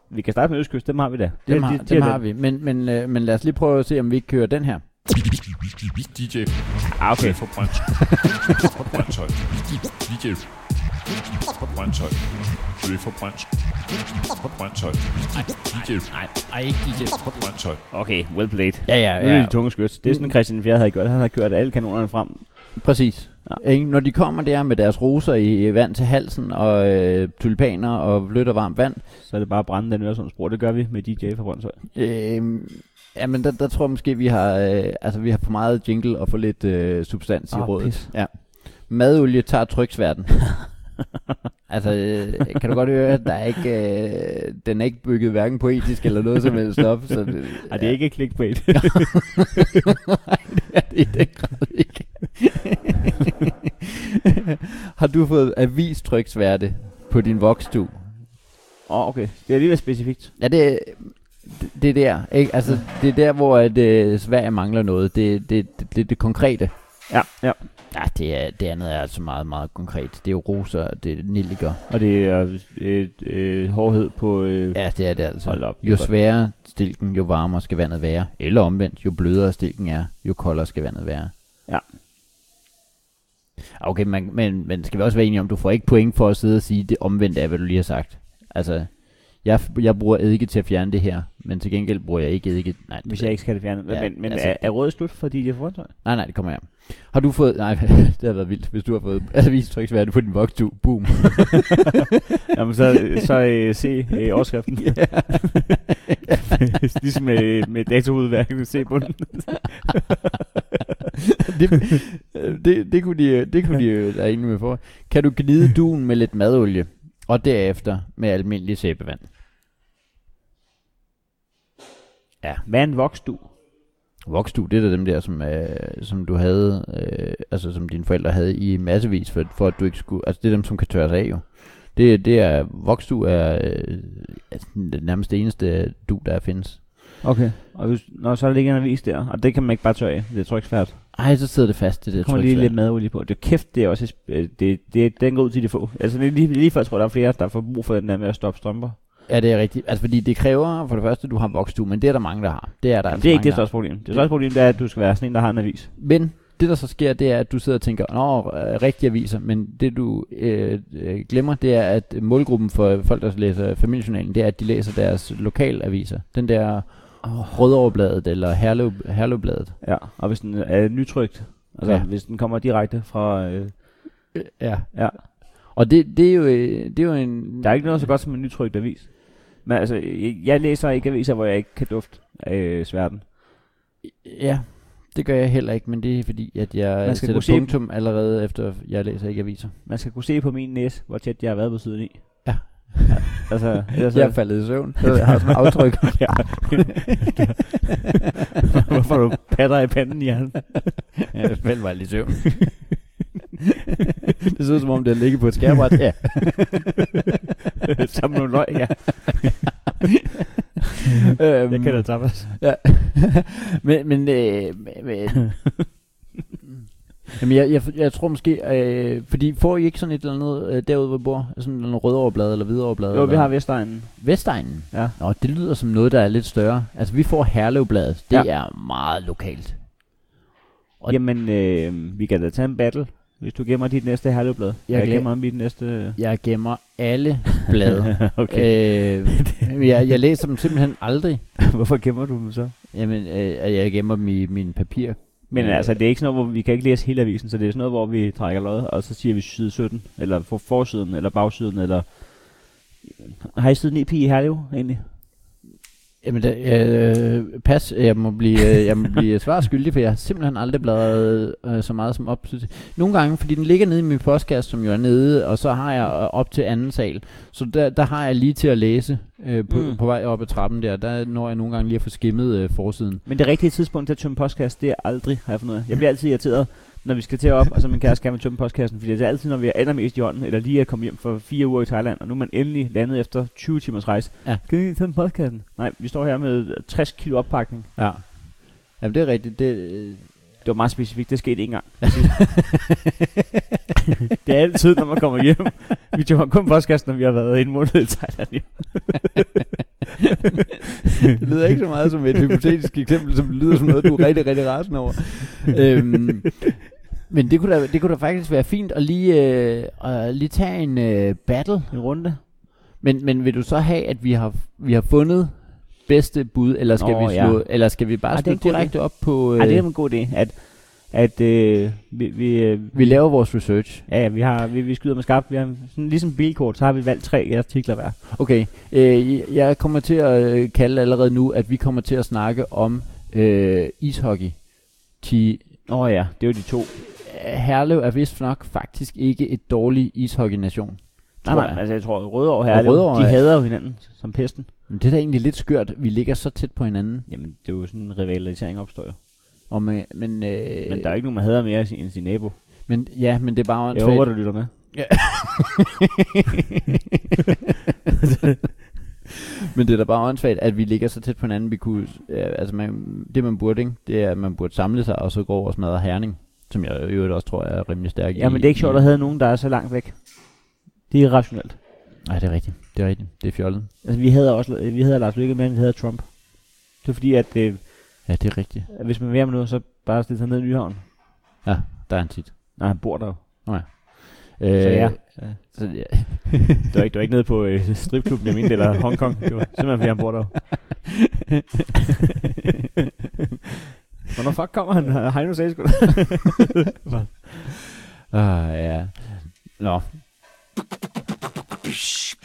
[SPEAKER 3] Vi kan starte med Østkyst, dem har vi da.
[SPEAKER 1] Dem har,
[SPEAKER 3] de,
[SPEAKER 1] dem har vi. Men, men, øh, men lad os lige prøve at se, om vi ikke kører den her.
[SPEAKER 5] DJ
[SPEAKER 3] Ah, okay.
[SPEAKER 5] fra Brøndshøj. Fra Brøndshøj. DJ fra Brøndshøj. DJ fra Brøndshøj. Fra Brøndshøj. DJ
[SPEAKER 1] Nej, nej, ikke DJ.
[SPEAKER 5] fra Brøndshøj.
[SPEAKER 3] Okay, well played.
[SPEAKER 1] Ja, ja,
[SPEAKER 3] Nu er det
[SPEAKER 1] ja.
[SPEAKER 3] de tunge skyts. Det er sådan, Christian Fjerde havde gjort. Han havde kørt alle kanonerne frem.
[SPEAKER 1] Præcis. Ja. Når de kommer der med deres roser i i vand til halsen, og øh, tulipaner og blødt og varmt vand,
[SPEAKER 3] Så er det bare at brænde den Øresundsbro. Det gør vi med DJ fra Brøndshøj.
[SPEAKER 1] øh, jamen der, der tror jeg måske, vi har, øh, altså, vi har for meget jingle og for lidt øh, substans i
[SPEAKER 3] Ah,
[SPEAKER 1] rådet.
[SPEAKER 3] pis.
[SPEAKER 1] Ja. Madolie tager tryksverden. Altså, øh, kan du godt høre, at der er ikke, øh, den er ikke bygget hverken poetisk eller noget som helst op. Så det,
[SPEAKER 3] Ej, det er ikke clickbait.
[SPEAKER 1] Nej, det er det i den grad ikke. Har du fået avistryksværte på din vokstue?
[SPEAKER 3] Åh, oh, okay. Det er alligevel specifikt.
[SPEAKER 1] Ja, det, det, det er der, ikke? Altså, det er der, hvor at, øh, Sverige mangler noget. Det, det, det, det, det konkrete.
[SPEAKER 3] Ja, ja.
[SPEAKER 1] Ja, det, er, det andet er altså meget, meget konkret. Det er jo roser, og det er nilliker.
[SPEAKER 3] Og det er et, øh, hårdhed på... Øh, ja.
[SPEAKER 1] Ja, det er det altså.
[SPEAKER 3] Hold op. det
[SPEAKER 1] Jo
[SPEAKER 3] er godt.
[SPEAKER 1] sværere stilken, jo varmere skal vandet være. Eller omvendt, jo blødere stilken er, jo koldere skal vandet være. Ah,
[SPEAKER 3] Ja.
[SPEAKER 1] Okay, man, men, men skal vi også være enige om, du får ikke point for at sidde og sige, det omvendt af, hvad du lige har sagt. Altså, jeg, jeg bruger eddike til at fjerne det her, men til gengæld bruger jeg ikke eddike. Nej, det-
[SPEAKER 3] Hvis jeg ikke skal have det fjernet.
[SPEAKER 1] Ja,
[SPEAKER 3] Ja, men men
[SPEAKER 1] altså-
[SPEAKER 3] altså, er, er rådet slut, fordi det er forhåndtøj?
[SPEAKER 1] Nej, nej, det kommer jeg. Har du fået... Nej, det har været vildt, hvis du har fået avistryksværte på din vokstue. Boom.
[SPEAKER 3] Jamen, så, så øh, se øh, overskriften. ligesom med, med dataudværket, se på den.
[SPEAKER 1] det, det, det, kunne de, øh, det kunne de jo være enige med for. Kan du gnide duen med lidt madolie, og derefter med almindelig sæbevand?
[SPEAKER 3] Hvad er en vokstue?
[SPEAKER 1] Vokstue, det er da dem der, som, øh, som du havde, øh, altså som dine forældre havde i massevis, for, for at du ikke skulle, altså det er dem, som kan tørres af jo. Det, det er, vokstue er øh, altså, det nærmest det eneste øh, du, der findes.
[SPEAKER 3] Okay. Og hvis, når så ligger en avis der, og det kan man ikke bare tørre af. Det er tryksvært.
[SPEAKER 1] Ej, så sidder det fast, det der
[SPEAKER 3] Der kommer lige lidt madolie på. Det er kæft, det er også... et sp- øh, Det, det, den går ud til de få. Altså det er lige, lige før, jeg tror, der er flere, der får brug for den der med at stoppe strømper.
[SPEAKER 1] Ja, det er rigtigt. Altså, fordi det kræver for det første, at du har vokstue, men det er der mange, der har. Det er der
[SPEAKER 3] Jamen,
[SPEAKER 1] altså
[SPEAKER 3] det er
[SPEAKER 1] mange,
[SPEAKER 3] ikke det
[SPEAKER 1] der har.
[SPEAKER 3] største problem. Det største problem det er, at du skal være sådan en, der har en avis.
[SPEAKER 1] Men det, der så sker, det er, at du sidder og tænker, nå, øh, rigtige aviser, men det, du øh, øh, glemmer, det er, at målgruppen for folk, der læser familiejournalen, det er, at de læser deres lokalaviser. Den der Rødoverbladet eller Herlev, Herlevbladet.
[SPEAKER 3] Ja. Og hvis den er nytrykt, altså
[SPEAKER 1] Ja.
[SPEAKER 3] ja. hvis den kommer direkte fra... Øh,
[SPEAKER 1] Ja.
[SPEAKER 3] ja.
[SPEAKER 1] Og det, det, er jo, øh, det er jo en...
[SPEAKER 3] Der er ikke noget så godt som en nytrykt avis. Men altså, jeg, jeg læser ikke aviser, hvor jeg ikke kan dufte øh, sværten.
[SPEAKER 1] Ja, det gør jeg heller ikke, men det er fordi, at jeg
[SPEAKER 3] Man skal
[SPEAKER 1] sætter
[SPEAKER 3] kunne se-
[SPEAKER 1] punktum allerede efter, jeg læser ikke aviser.
[SPEAKER 3] Man skal kunne se på min næse, hvor tæt jeg har været på siden i.
[SPEAKER 1] Ja.
[SPEAKER 3] altså, ellers,
[SPEAKER 1] Så jeg er faldet i søvn. Så jeg har sådan et aftryk.
[SPEAKER 3] Ja. Hvorfor du patter i panden, Jan?
[SPEAKER 1] jeg faldt mig i søvn. det ser ud som om, det har ligget på et skærbræt. Ja.
[SPEAKER 3] Sammen med løg, ja.
[SPEAKER 1] øhm,
[SPEAKER 3] Jeg kan da tapas.
[SPEAKER 1] Ja. men, men, øh, men- men Jamen, jeg, jeg, jeg tror måske, øh, fordi får I ikke sådan et eller andet øh, derude, hvor I bor? Sådan en rødoverblad eller hvidoverblad?
[SPEAKER 3] Jo, vi
[SPEAKER 1] eller?
[SPEAKER 3] har Vestegnen.
[SPEAKER 1] Vestegnen.
[SPEAKER 3] Ja.
[SPEAKER 1] Nå, det lyder som noget, der er lidt større. Altså, vi får Herlevbladet. Det
[SPEAKER 3] Ja.
[SPEAKER 1] er meget lokalt. Og-
[SPEAKER 3] Og Jamen, øh, vi kan da tage en battle, hvis du gemmer dit næste herlevblad. Jeg, jeg
[SPEAKER 1] glæ-
[SPEAKER 3] gemmer mit næste...
[SPEAKER 1] Jeg gemmer alle blade.
[SPEAKER 3] okay.
[SPEAKER 1] øh, jeg, jeg læser dem simpelthen aldrig.
[SPEAKER 3] Øh, Hvorfor gemmer du dem så?
[SPEAKER 1] Jamen, øh, jeg gemmer dem i min papir.
[SPEAKER 3] Men
[SPEAKER 1] Øh.
[SPEAKER 3] altså, det er ikke sådan noget, hvor vi kan ikke læse hele avisen, så det er sådan noget, hvor vi trækker lod, og så siger vi side 17, eller for forsiden, eller bagsiden, eller... Har I side 9 pige i Herlev, egentlig?
[SPEAKER 1] Jamen, da, øh, pas, jeg må blive, øh, jeg må blive svar skyldig, for jeg har simpelthen aldrig bladret øh, så meget som op til... Nogle gange, fordi den ligger nede i min postkasse, som jo er nede, og så har jeg øh, op til anden sal. Så der, der har jeg lige til at læse øh, på, mm.
[SPEAKER 3] Mm.
[SPEAKER 1] på vej op ad trappen der. Der når jeg nogle gange lige at få skimmet øh, forsiden.
[SPEAKER 3] Men det rigtige tidspunkt til at tømme postkassen, det er aldrig, har jeg fundet ud af. Jeg bliver altid irriteret, når vi skal til op, og så min kæreste gerne vil tømme postkassen, fordi det er altid, når vi er allermest i hånden, eller lige er kommet hjem for fire uger i Thailand, og nu er man endelig landet efter 20 timers rejse.
[SPEAKER 1] Ja.
[SPEAKER 3] Skal vi lige tømme postkassen? Nej, vi står her med 60 kilo oppakning.
[SPEAKER 1] Ja. Jamen, det er rigtigt. Det, øh,
[SPEAKER 3] Det var meget specifikt, det skete ikke engang. det er altid, når man kommer hjem. Vi tømmer kun postkassen, når vi har været en måned i Thailand. Ja.
[SPEAKER 1] Det lyder ikke så meget som et hypotetisk eksempel, som det lyder som noget, du er rigtig, rigtig rasende over. øhm, men det kunne, da, det kunne da faktisk være fint at lige, øh, at lige tage en øh, battle.
[SPEAKER 3] En runde.
[SPEAKER 1] Men, men vil du så have, at vi har, vi har fundet bedste bud, eller skal,
[SPEAKER 3] Nå,
[SPEAKER 1] vi, slå,
[SPEAKER 3] ja.
[SPEAKER 1] eller skal vi bare
[SPEAKER 3] Ej, det er
[SPEAKER 1] slå
[SPEAKER 3] en god
[SPEAKER 1] direkte op på... Øh,
[SPEAKER 3] Ej, det er en god idé, at, at øh, vi, vi, øh,
[SPEAKER 1] Vi laver vores research.
[SPEAKER 3] Ja, ja, vi, har, vi, vi skyder med skarpt. Vi har sådan, ligesom bilkort, så har vi valgt tre artikler hver.
[SPEAKER 1] Okay, øh, jeg kommer til at øh, kalde allerede nu, at vi kommer til at snakke om øh, ishockey. Til
[SPEAKER 3] Åh oh, ja, det er jo de to.
[SPEAKER 1] Øh, Herlev er vist nok faktisk ikke et dårligt ishockey-nation.
[SPEAKER 3] Nej,
[SPEAKER 1] tror
[SPEAKER 3] nej,
[SPEAKER 1] jeg.
[SPEAKER 3] altså jeg tror, at Rødovre her,
[SPEAKER 1] Rødovre
[SPEAKER 3] de
[SPEAKER 1] er-
[SPEAKER 3] hader jo hinanden som pesten.
[SPEAKER 1] Men det er da egentlig lidt skørt, vi ligger så tæt på hinanden.
[SPEAKER 3] Jamen, det er jo sådan en rivalisering opstår jo.
[SPEAKER 1] Og med, men, øh,
[SPEAKER 3] Men der er ikke nogen, man hader mere sin- end sin nabo.
[SPEAKER 1] men, ja, men det er bare
[SPEAKER 3] Jeg håber, du lytter med.
[SPEAKER 1] Men det er da bare åndssvagt, at vi ligger så tæt på hinanden. Vi kunne, øh, altså man, det man burde, ikke? det er, at man burde samle sig og så gå over og smadre herning. Som jeg i øvrigt også tror er rimelig stærk
[SPEAKER 3] Jamen, det er ikke sjovt at have nogen, der er så langt væk. Det er irrationelt.
[SPEAKER 1] Nej, det er rigtigt. Det er rigtigt. Det er fjollet.
[SPEAKER 3] Altså, vi havde også, vi havde Lars Løkke mere, end vi havde Trump. Det er fordi, at øh,
[SPEAKER 1] Ja, det er rigtigt.
[SPEAKER 3] at hvis man vil have noget, så bare stille sig ned i Nyhavn.
[SPEAKER 1] Ja, der er han tit.
[SPEAKER 3] Nej, han bor der jo.
[SPEAKER 1] Øh,
[SPEAKER 3] Så ja.
[SPEAKER 1] Så ja.
[SPEAKER 3] Det var ikke, det var ikke nede på øh, stripklubben, jeg mente, eller Hongkong. Det var simpelthen, fordi han bor der. Hvornår fuck kommer han? Heino sagde sgu
[SPEAKER 1] Ah, ja. Nå,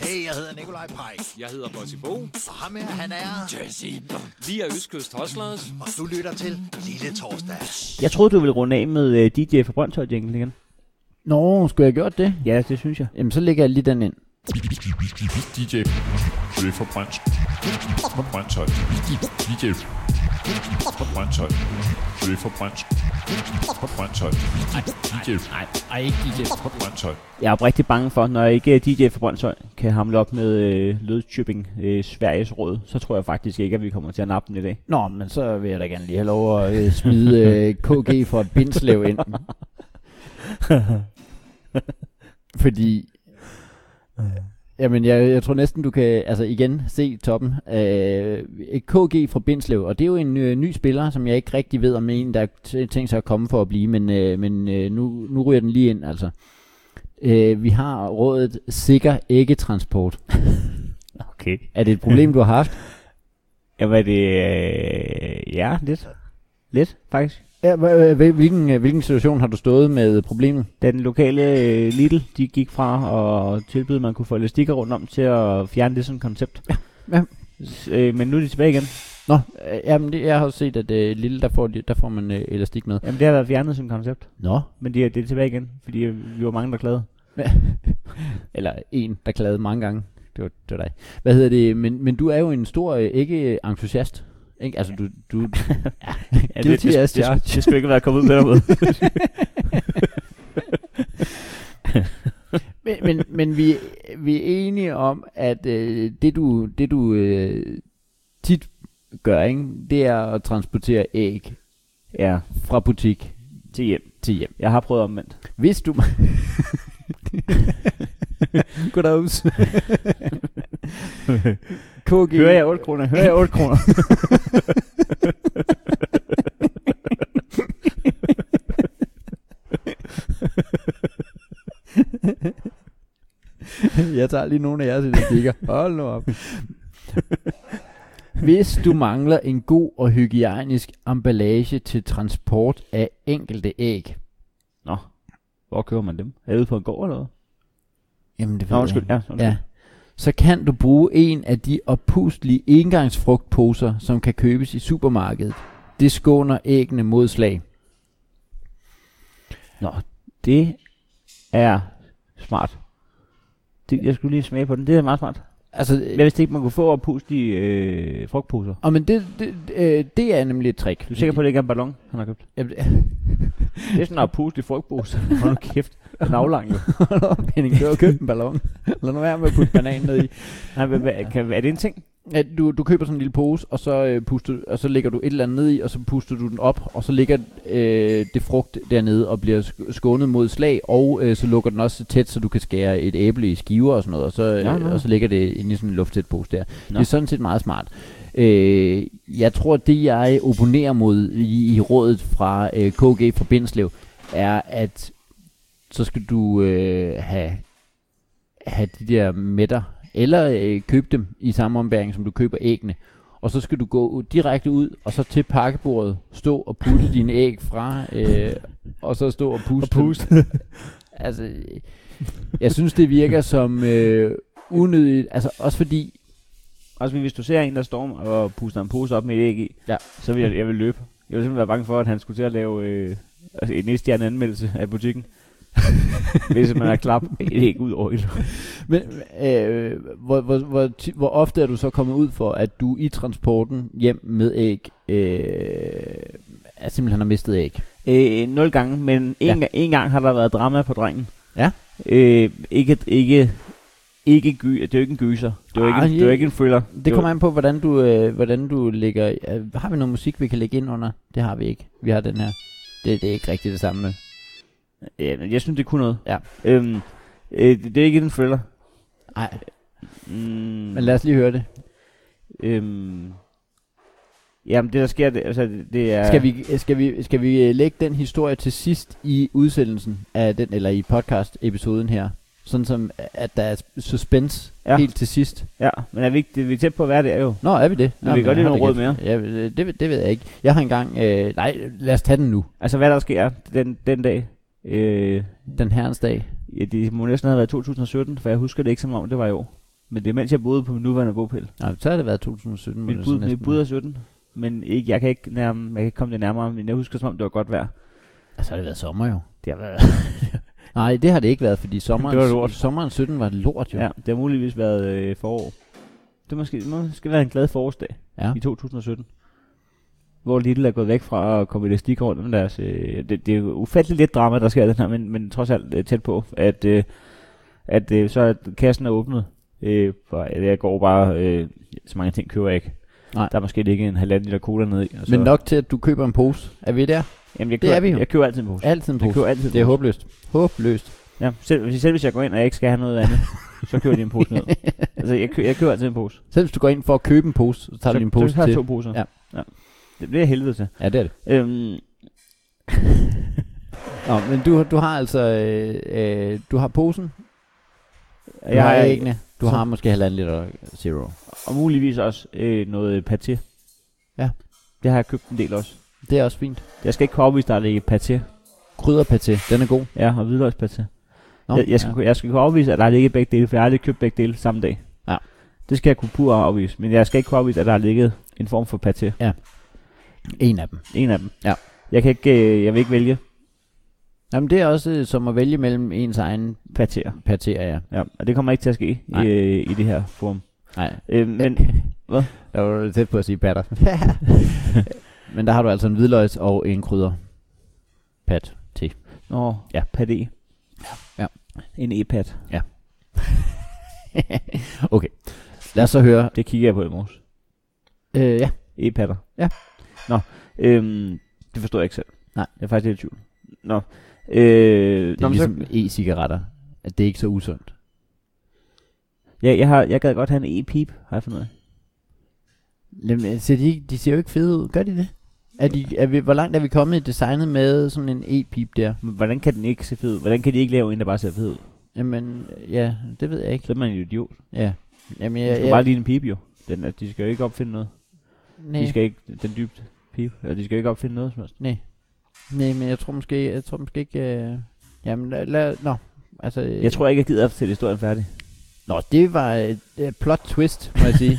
[SPEAKER 4] Hey, jeg hedder Nikolaj Pajk.
[SPEAKER 2] Jeg hedder Bossy Bo.
[SPEAKER 4] Og ham her, han er...
[SPEAKER 2] Vi er Østkyst Hoslers.
[SPEAKER 4] Og du lytter til Lille Torsdag.
[SPEAKER 3] Jeg troede, du ville runde af med øh, DJ fra Brøndshøj jingle igen.
[SPEAKER 1] Nå, skulle jeg have gjort det?
[SPEAKER 3] Ja, det synes jeg.
[SPEAKER 1] Jamen, så lægger jeg lige den ind.
[SPEAKER 5] DJ Jay fra Brøndshøj. Fra Brøndshøj. DJ fra Brøndshøj. Jay fra Brøndshøj. Fra Brøndshøj. DJ
[SPEAKER 1] Ej, ikke DJ.
[SPEAKER 5] fra Brøndshøj.
[SPEAKER 3] Jeg er oprigtig bange for, når jeg ikke øh, DJ fra Brøndshøj kan hamle op med øh, Lødtjøbing, øh, Sveriges råd, så tror jeg faktisk ikke, at vi kommer til at nappe den i dag.
[SPEAKER 1] Nå, men så vil jeg da gerne lige have lov at øh, smide øh, KG fra Bindslev ind. Fordi, jamen jeg, jeg tror næsten du kan, altså igen, se toppen. Øh, KG fra Bindslev, og det er jo en øh, ny spiller, som jeg ikke rigtig ved om en, der t- tænkt sig at komme for at blive, men, øh, men øh, nu, nu ryger den lige ind altså. Øh, vi har rådet sikker æggetransport.
[SPEAKER 3] Okay.
[SPEAKER 1] Er det et problem, du har haft?
[SPEAKER 3] Jamen, er det... Øh, ja, lidt. Lidt, faktisk.
[SPEAKER 1] Ja, hva- hva- hvilken, øh, hvilken situation har du stået med øh, problemet?
[SPEAKER 3] Da den lokale øh, Lidl, de gik fra og tilbød, at man kunne få elastikker rundt om til at fjerne det som koncept.
[SPEAKER 1] ja.
[SPEAKER 3] S- øh, men nu er de tilbage igen.
[SPEAKER 1] Nå, øh, jamen det, jeg har jo set, at øh, lille, der får, de- der får man øh, elastik med.
[SPEAKER 3] Jamen, det har været fjernet som koncept.
[SPEAKER 1] Nå.
[SPEAKER 3] Men det er, det er tilbage igen, fordi øh, vi var mange, der klagede.
[SPEAKER 1] Eller en, der klagede mange gange. Det var, det var dig. Hvad hedder det? Men, men du er jo en stor øh, ikke-entusiast. Ikke? Altså, du... du
[SPEAKER 3] Ja,
[SPEAKER 1] Guilty
[SPEAKER 3] det,
[SPEAKER 1] as
[SPEAKER 3] det, det,
[SPEAKER 1] charged.
[SPEAKER 3] det, skulle ikke være kommet ud på den måde.
[SPEAKER 1] men, men, men vi, vi er enige om, at øh, det du, det du øh, tit gør, ikke? det er at transportere æg
[SPEAKER 3] ja,
[SPEAKER 1] fra butik
[SPEAKER 3] til hjem.
[SPEAKER 1] til hjem.
[SPEAKER 3] Jeg har prøvet omvendt.
[SPEAKER 1] Hvis du... Goddag, KG.
[SPEAKER 3] Hører jeg 8 kroner? Hører jeg 8 kroner?
[SPEAKER 1] Jeg tager lige nogle af jeres elastikker. Hold nu op. Hvis du mangler en god og hygiejnisk emballage til transport af enkelte æg.
[SPEAKER 3] Nå, hvor køber man dem? Er det ude på en gård eller hvad?
[SPEAKER 1] Jamen det
[SPEAKER 3] Nå, undskyld. Ja, undskyld.
[SPEAKER 1] Ja. Så kan du bruge en af de oppustelige engangsfrugtposer, som kan købes i supermarkedet. Det skåner æggene mod slag.
[SPEAKER 3] Nå, det er smart. Det, jeg skulle lige smage på den. Det er meget smart.
[SPEAKER 1] Altså,
[SPEAKER 3] Jeg vidste ikke, man kunne få oppust i øh, frugtposer.
[SPEAKER 1] og men det, det, øh, det er nemlig et trick.
[SPEAKER 3] Du er sikker på, at det ikke er en ballon, han har købt?
[SPEAKER 1] Jamen,
[SPEAKER 3] Det er sådan en oppust i frugtpose. Hold nu kæft. Den er aflang jo.
[SPEAKER 1] Hold op, Henning, du har købt en ballon. Lad nu være med at putte banan ned i.
[SPEAKER 3] Nej, hvad, hvad, kan, er det en ting?
[SPEAKER 1] At du, du køber sådan en lille pose, og så, øh, puster, og så lægger du et eller andet ned i, og så puster du den op, og så ligger øh, det frugt dernede og bliver sk- skånet mod slag, og øh, så lukker den også tæt, så du kan skære et æble i skiver og sådan noget, og så, øh,
[SPEAKER 3] Nå, nå.
[SPEAKER 1] Og så ligger det inde i sådan en lufttæt pose der.
[SPEAKER 3] Nå.
[SPEAKER 1] Det er sådan set meget smart. Øh, jeg tror, det jeg opponerer mod i, i rådet fra øh, KG fra Bindslev, er, at så skal du øh, have have de der mætter, eller øh, købe dem i samme ombæring, som du køber æggene. Og så skal du gå ud- direkte ud, og så til pakkebordet, stå og putte dine æg fra, øh, og så stå og puste. dem. altså, øh, jeg synes, det virker som øh, unødigt, altså også fordi,
[SPEAKER 3] Også hvis du ser en, der storm og puster en pose op med et æg i,
[SPEAKER 1] Ja.
[SPEAKER 3] så vil jeg, jeg vil løbe. Jeg vil simpelthen være bange for, at han skulle til at lave øh, altså en næste anmeldelse af butikken. hvis man har klap et æg ud over et
[SPEAKER 1] Men, øh, hvor, hvor, hvor, ti- hvor ofte er du så kommet ud for, at du i transporten hjem med æg, øh, er simpelthen har mistet æg?
[SPEAKER 3] Øh, nul gange, men en, ja. en gang har der været drama på drengen.
[SPEAKER 1] Ja.
[SPEAKER 3] Øh, ikke, ikke, ikke gy, det er jo ikke en gyser. Det er jo ikke,
[SPEAKER 1] Ah,
[SPEAKER 3] en, det er jo
[SPEAKER 1] yeah.
[SPEAKER 3] ikke en thriller.
[SPEAKER 1] Det kommer an på, hvordan du, øh, hvordan du lægger... Øh, har vi noget musik, vi kan lægge ind under? Det har vi ikke. Vi har den her. Det, det er ikke rigtig det samme.
[SPEAKER 3] Ja, men jeg synes, det kunne noget.
[SPEAKER 1] Ja.
[SPEAKER 3] Øhm, øh, det, det er ikke en thriller.
[SPEAKER 1] Nej,
[SPEAKER 3] Mm,
[SPEAKER 1] men lad os lige høre det.
[SPEAKER 3] øhm, jamen, det der sker, det, altså, det- det er...
[SPEAKER 1] Ja. Skal, vi, skal, vi, skal vi øh, lægge den historie til sidst i udsendelsen af den, eller i podcast-episoden her? Sådan som, at der er suspense
[SPEAKER 3] Ja.
[SPEAKER 1] ja. helt til sidst.
[SPEAKER 3] Ja, men er vi, ikke, det, vi er tæt på, hvad det er jo.
[SPEAKER 1] Nå, er vi det?
[SPEAKER 3] Vi
[SPEAKER 1] Nå,
[SPEAKER 3] kan godt
[SPEAKER 1] jeg
[SPEAKER 3] lide
[SPEAKER 1] har
[SPEAKER 3] noget
[SPEAKER 1] da
[SPEAKER 3] råd
[SPEAKER 1] kæft. Ja, øh, det, ved- det ved jeg ikke. Jeg har engang... Øh, nej, lad os tage den nu.
[SPEAKER 3] Altså, hvad der sker den, den dag. Øh,
[SPEAKER 1] Den herrens dag.
[SPEAKER 3] ja, det må næsten have været 2017, for jeg husker det ikke som om, det var i år. Men det er mens jeg boede på min nuværende bogpæl.
[SPEAKER 1] Nå, så har det været 2017. må
[SPEAKER 3] Mit
[SPEAKER 1] det så
[SPEAKER 3] bud, mit
[SPEAKER 1] næsten
[SPEAKER 3] bud
[SPEAKER 1] være.
[SPEAKER 3] er 17, men ikke, jeg kan ikke, nærme, jeg kan ikke komme det nærmere, men jeg husker som om, det var godt vejr.
[SPEAKER 1] Ja, så har det været sommer jo.
[SPEAKER 3] Det har været,
[SPEAKER 1] Nej, det har det ikke været, fordi sommeren,
[SPEAKER 3] Det var lort.
[SPEAKER 1] sommeren 17 var lort jo.
[SPEAKER 3] ja, det har muligvis været øh, forår. Det måske, måske være en glad forårsdag
[SPEAKER 1] ja.
[SPEAKER 3] i 2017. Hvor Little er gået væk fra at komme i elastik rundt om deres... Øh, det, det er jo ufatteligt lidt drama, der sker i den her, men, men trods alt øh, tæt på, at, øh, at øh, så er kassen er åbnet. Øh, for jeg går bare... Øh, så mange ting køber jeg ikke.
[SPEAKER 1] Nej.
[SPEAKER 3] Der er måske ligge en halvanden liter cola nede i. Og så,
[SPEAKER 1] Men nok til, at du køber en pose. Er vi der?
[SPEAKER 3] jamen, jeg
[SPEAKER 1] det
[SPEAKER 3] køber,
[SPEAKER 1] er vi jo.
[SPEAKER 3] Jeg køber altid en pose.
[SPEAKER 1] Altid en
[SPEAKER 3] Jeg
[SPEAKER 1] pose.
[SPEAKER 3] køber altid en
[SPEAKER 1] Det er håbløst. Håbløst.
[SPEAKER 3] Ja, selv, hvis- selv hvis jeg går ind, og jeg ikke skal have noget andet, så kører de en pose ned. Altså, jeg, kø, jeg kører altid en pose.
[SPEAKER 1] Selv hvis du går ind for at købe en pose, så tager
[SPEAKER 3] så,
[SPEAKER 1] du din
[SPEAKER 3] så
[SPEAKER 1] pose
[SPEAKER 3] tager jeg
[SPEAKER 1] til.
[SPEAKER 3] to poser.
[SPEAKER 1] Ja.
[SPEAKER 3] ja. Det bliver jeg helvede til.
[SPEAKER 1] Ja, det er det.
[SPEAKER 3] Øhm,
[SPEAKER 1] Nå, men du, du har altså... Øh, øh, du har posen. Du
[SPEAKER 3] jeg
[SPEAKER 1] har
[SPEAKER 3] har
[SPEAKER 1] æggene. Du
[SPEAKER 3] så-
[SPEAKER 1] har måske halvanden liter zero.
[SPEAKER 3] og muligvis også øh, noget paté.
[SPEAKER 1] Ja.
[SPEAKER 3] Det har jeg købt en del også.
[SPEAKER 1] Det er også fint.
[SPEAKER 3] Jeg skal ikke kunne afvise dig at lægge paté.
[SPEAKER 1] Krydderpaté, den er god.
[SPEAKER 3] Ja, og hvidløgspaté.
[SPEAKER 1] Nå,
[SPEAKER 3] jeg, jeg, skal,
[SPEAKER 1] ja.
[SPEAKER 3] kunne- jeg skal kunne afvise, at der har ligget begge dele, for jeg har aldrig købt begge dele samme dag.
[SPEAKER 1] Ja.
[SPEAKER 3] Det skal jeg kunne pur afvise, men jeg skal ikke kunne afvise, at der har ligget en form for paté.
[SPEAKER 1] En af dem.
[SPEAKER 3] En af dem.
[SPEAKER 1] Ja.
[SPEAKER 3] Jeg, kan ikke, øh, jeg vil ikke vælge
[SPEAKER 1] Jamen, det er også øh, som at vælge mellem ens egen
[SPEAKER 3] patéer.
[SPEAKER 1] patéer, ja.
[SPEAKER 3] Ja, og det kommer ikke til at ske
[SPEAKER 1] Nej.
[SPEAKER 3] øh, i det her forum.
[SPEAKER 1] Nej,
[SPEAKER 3] Øh, men
[SPEAKER 1] jeg var tæt på at sige patter. men der har du altså en hvidløgs og en krydder. Pat.
[SPEAKER 3] Nå,
[SPEAKER 1] Ja.
[SPEAKER 3] ja. pad E.
[SPEAKER 1] Ja.
[SPEAKER 3] En e-pad.
[SPEAKER 1] okay. Lad os så høre.
[SPEAKER 3] Det kigger jeg på i morges.
[SPEAKER 1] Øh, ja.
[SPEAKER 3] E-padder.
[SPEAKER 1] Ja.
[SPEAKER 3] Nå, øhm, det forstår jeg ikke selv.
[SPEAKER 1] Nej.
[SPEAKER 3] Jeg er faktisk lidt i tvivl. Nå. Øh,
[SPEAKER 1] Det
[SPEAKER 3] nå,
[SPEAKER 1] er
[SPEAKER 3] men
[SPEAKER 1] ligesom
[SPEAKER 3] så,
[SPEAKER 1] e-cigaretter. At det er ikke så usundt.
[SPEAKER 3] ja, jeg, har, jeg gad godt have en e-pip, har jeg fundet ud af.
[SPEAKER 1] Jamen, øh, ser de, ikke- de ser jo ikke fede ud. Gør de det? Er de, er vi, hvor langt er vi kommet i designet med sådan en e-pip der?
[SPEAKER 3] Men hvordan kan den ikke se fed ud? Hvordan kan de ikke lave en, der bare ser fed ud?
[SPEAKER 1] Jamen, øh, ja, det ved jeg ikke.
[SPEAKER 3] Så er man en idiot.
[SPEAKER 1] Ja. Jamen,
[SPEAKER 3] Ja,
[SPEAKER 1] jeg,
[SPEAKER 3] skal
[SPEAKER 1] jeg,
[SPEAKER 3] bare lige en pip, jo. Den, er- de skal jo ikke opfinde noget.
[SPEAKER 1] nej,
[SPEAKER 3] De skal ikke, den dybt pip, og de skal jo ikke opfinde noget som helst.
[SPEAKER 1] nej. Nej, men jeg tror måske, jeg tror måske ikke... Øh, jamen, lad, lad, nå. Altså, øh,
[SPEAKER 3] Jeg tror ikke, jeg gider at fortælle historien færdig.
[SPEAKER 1] Nå, det var et øh, plot twist, må jeg sige.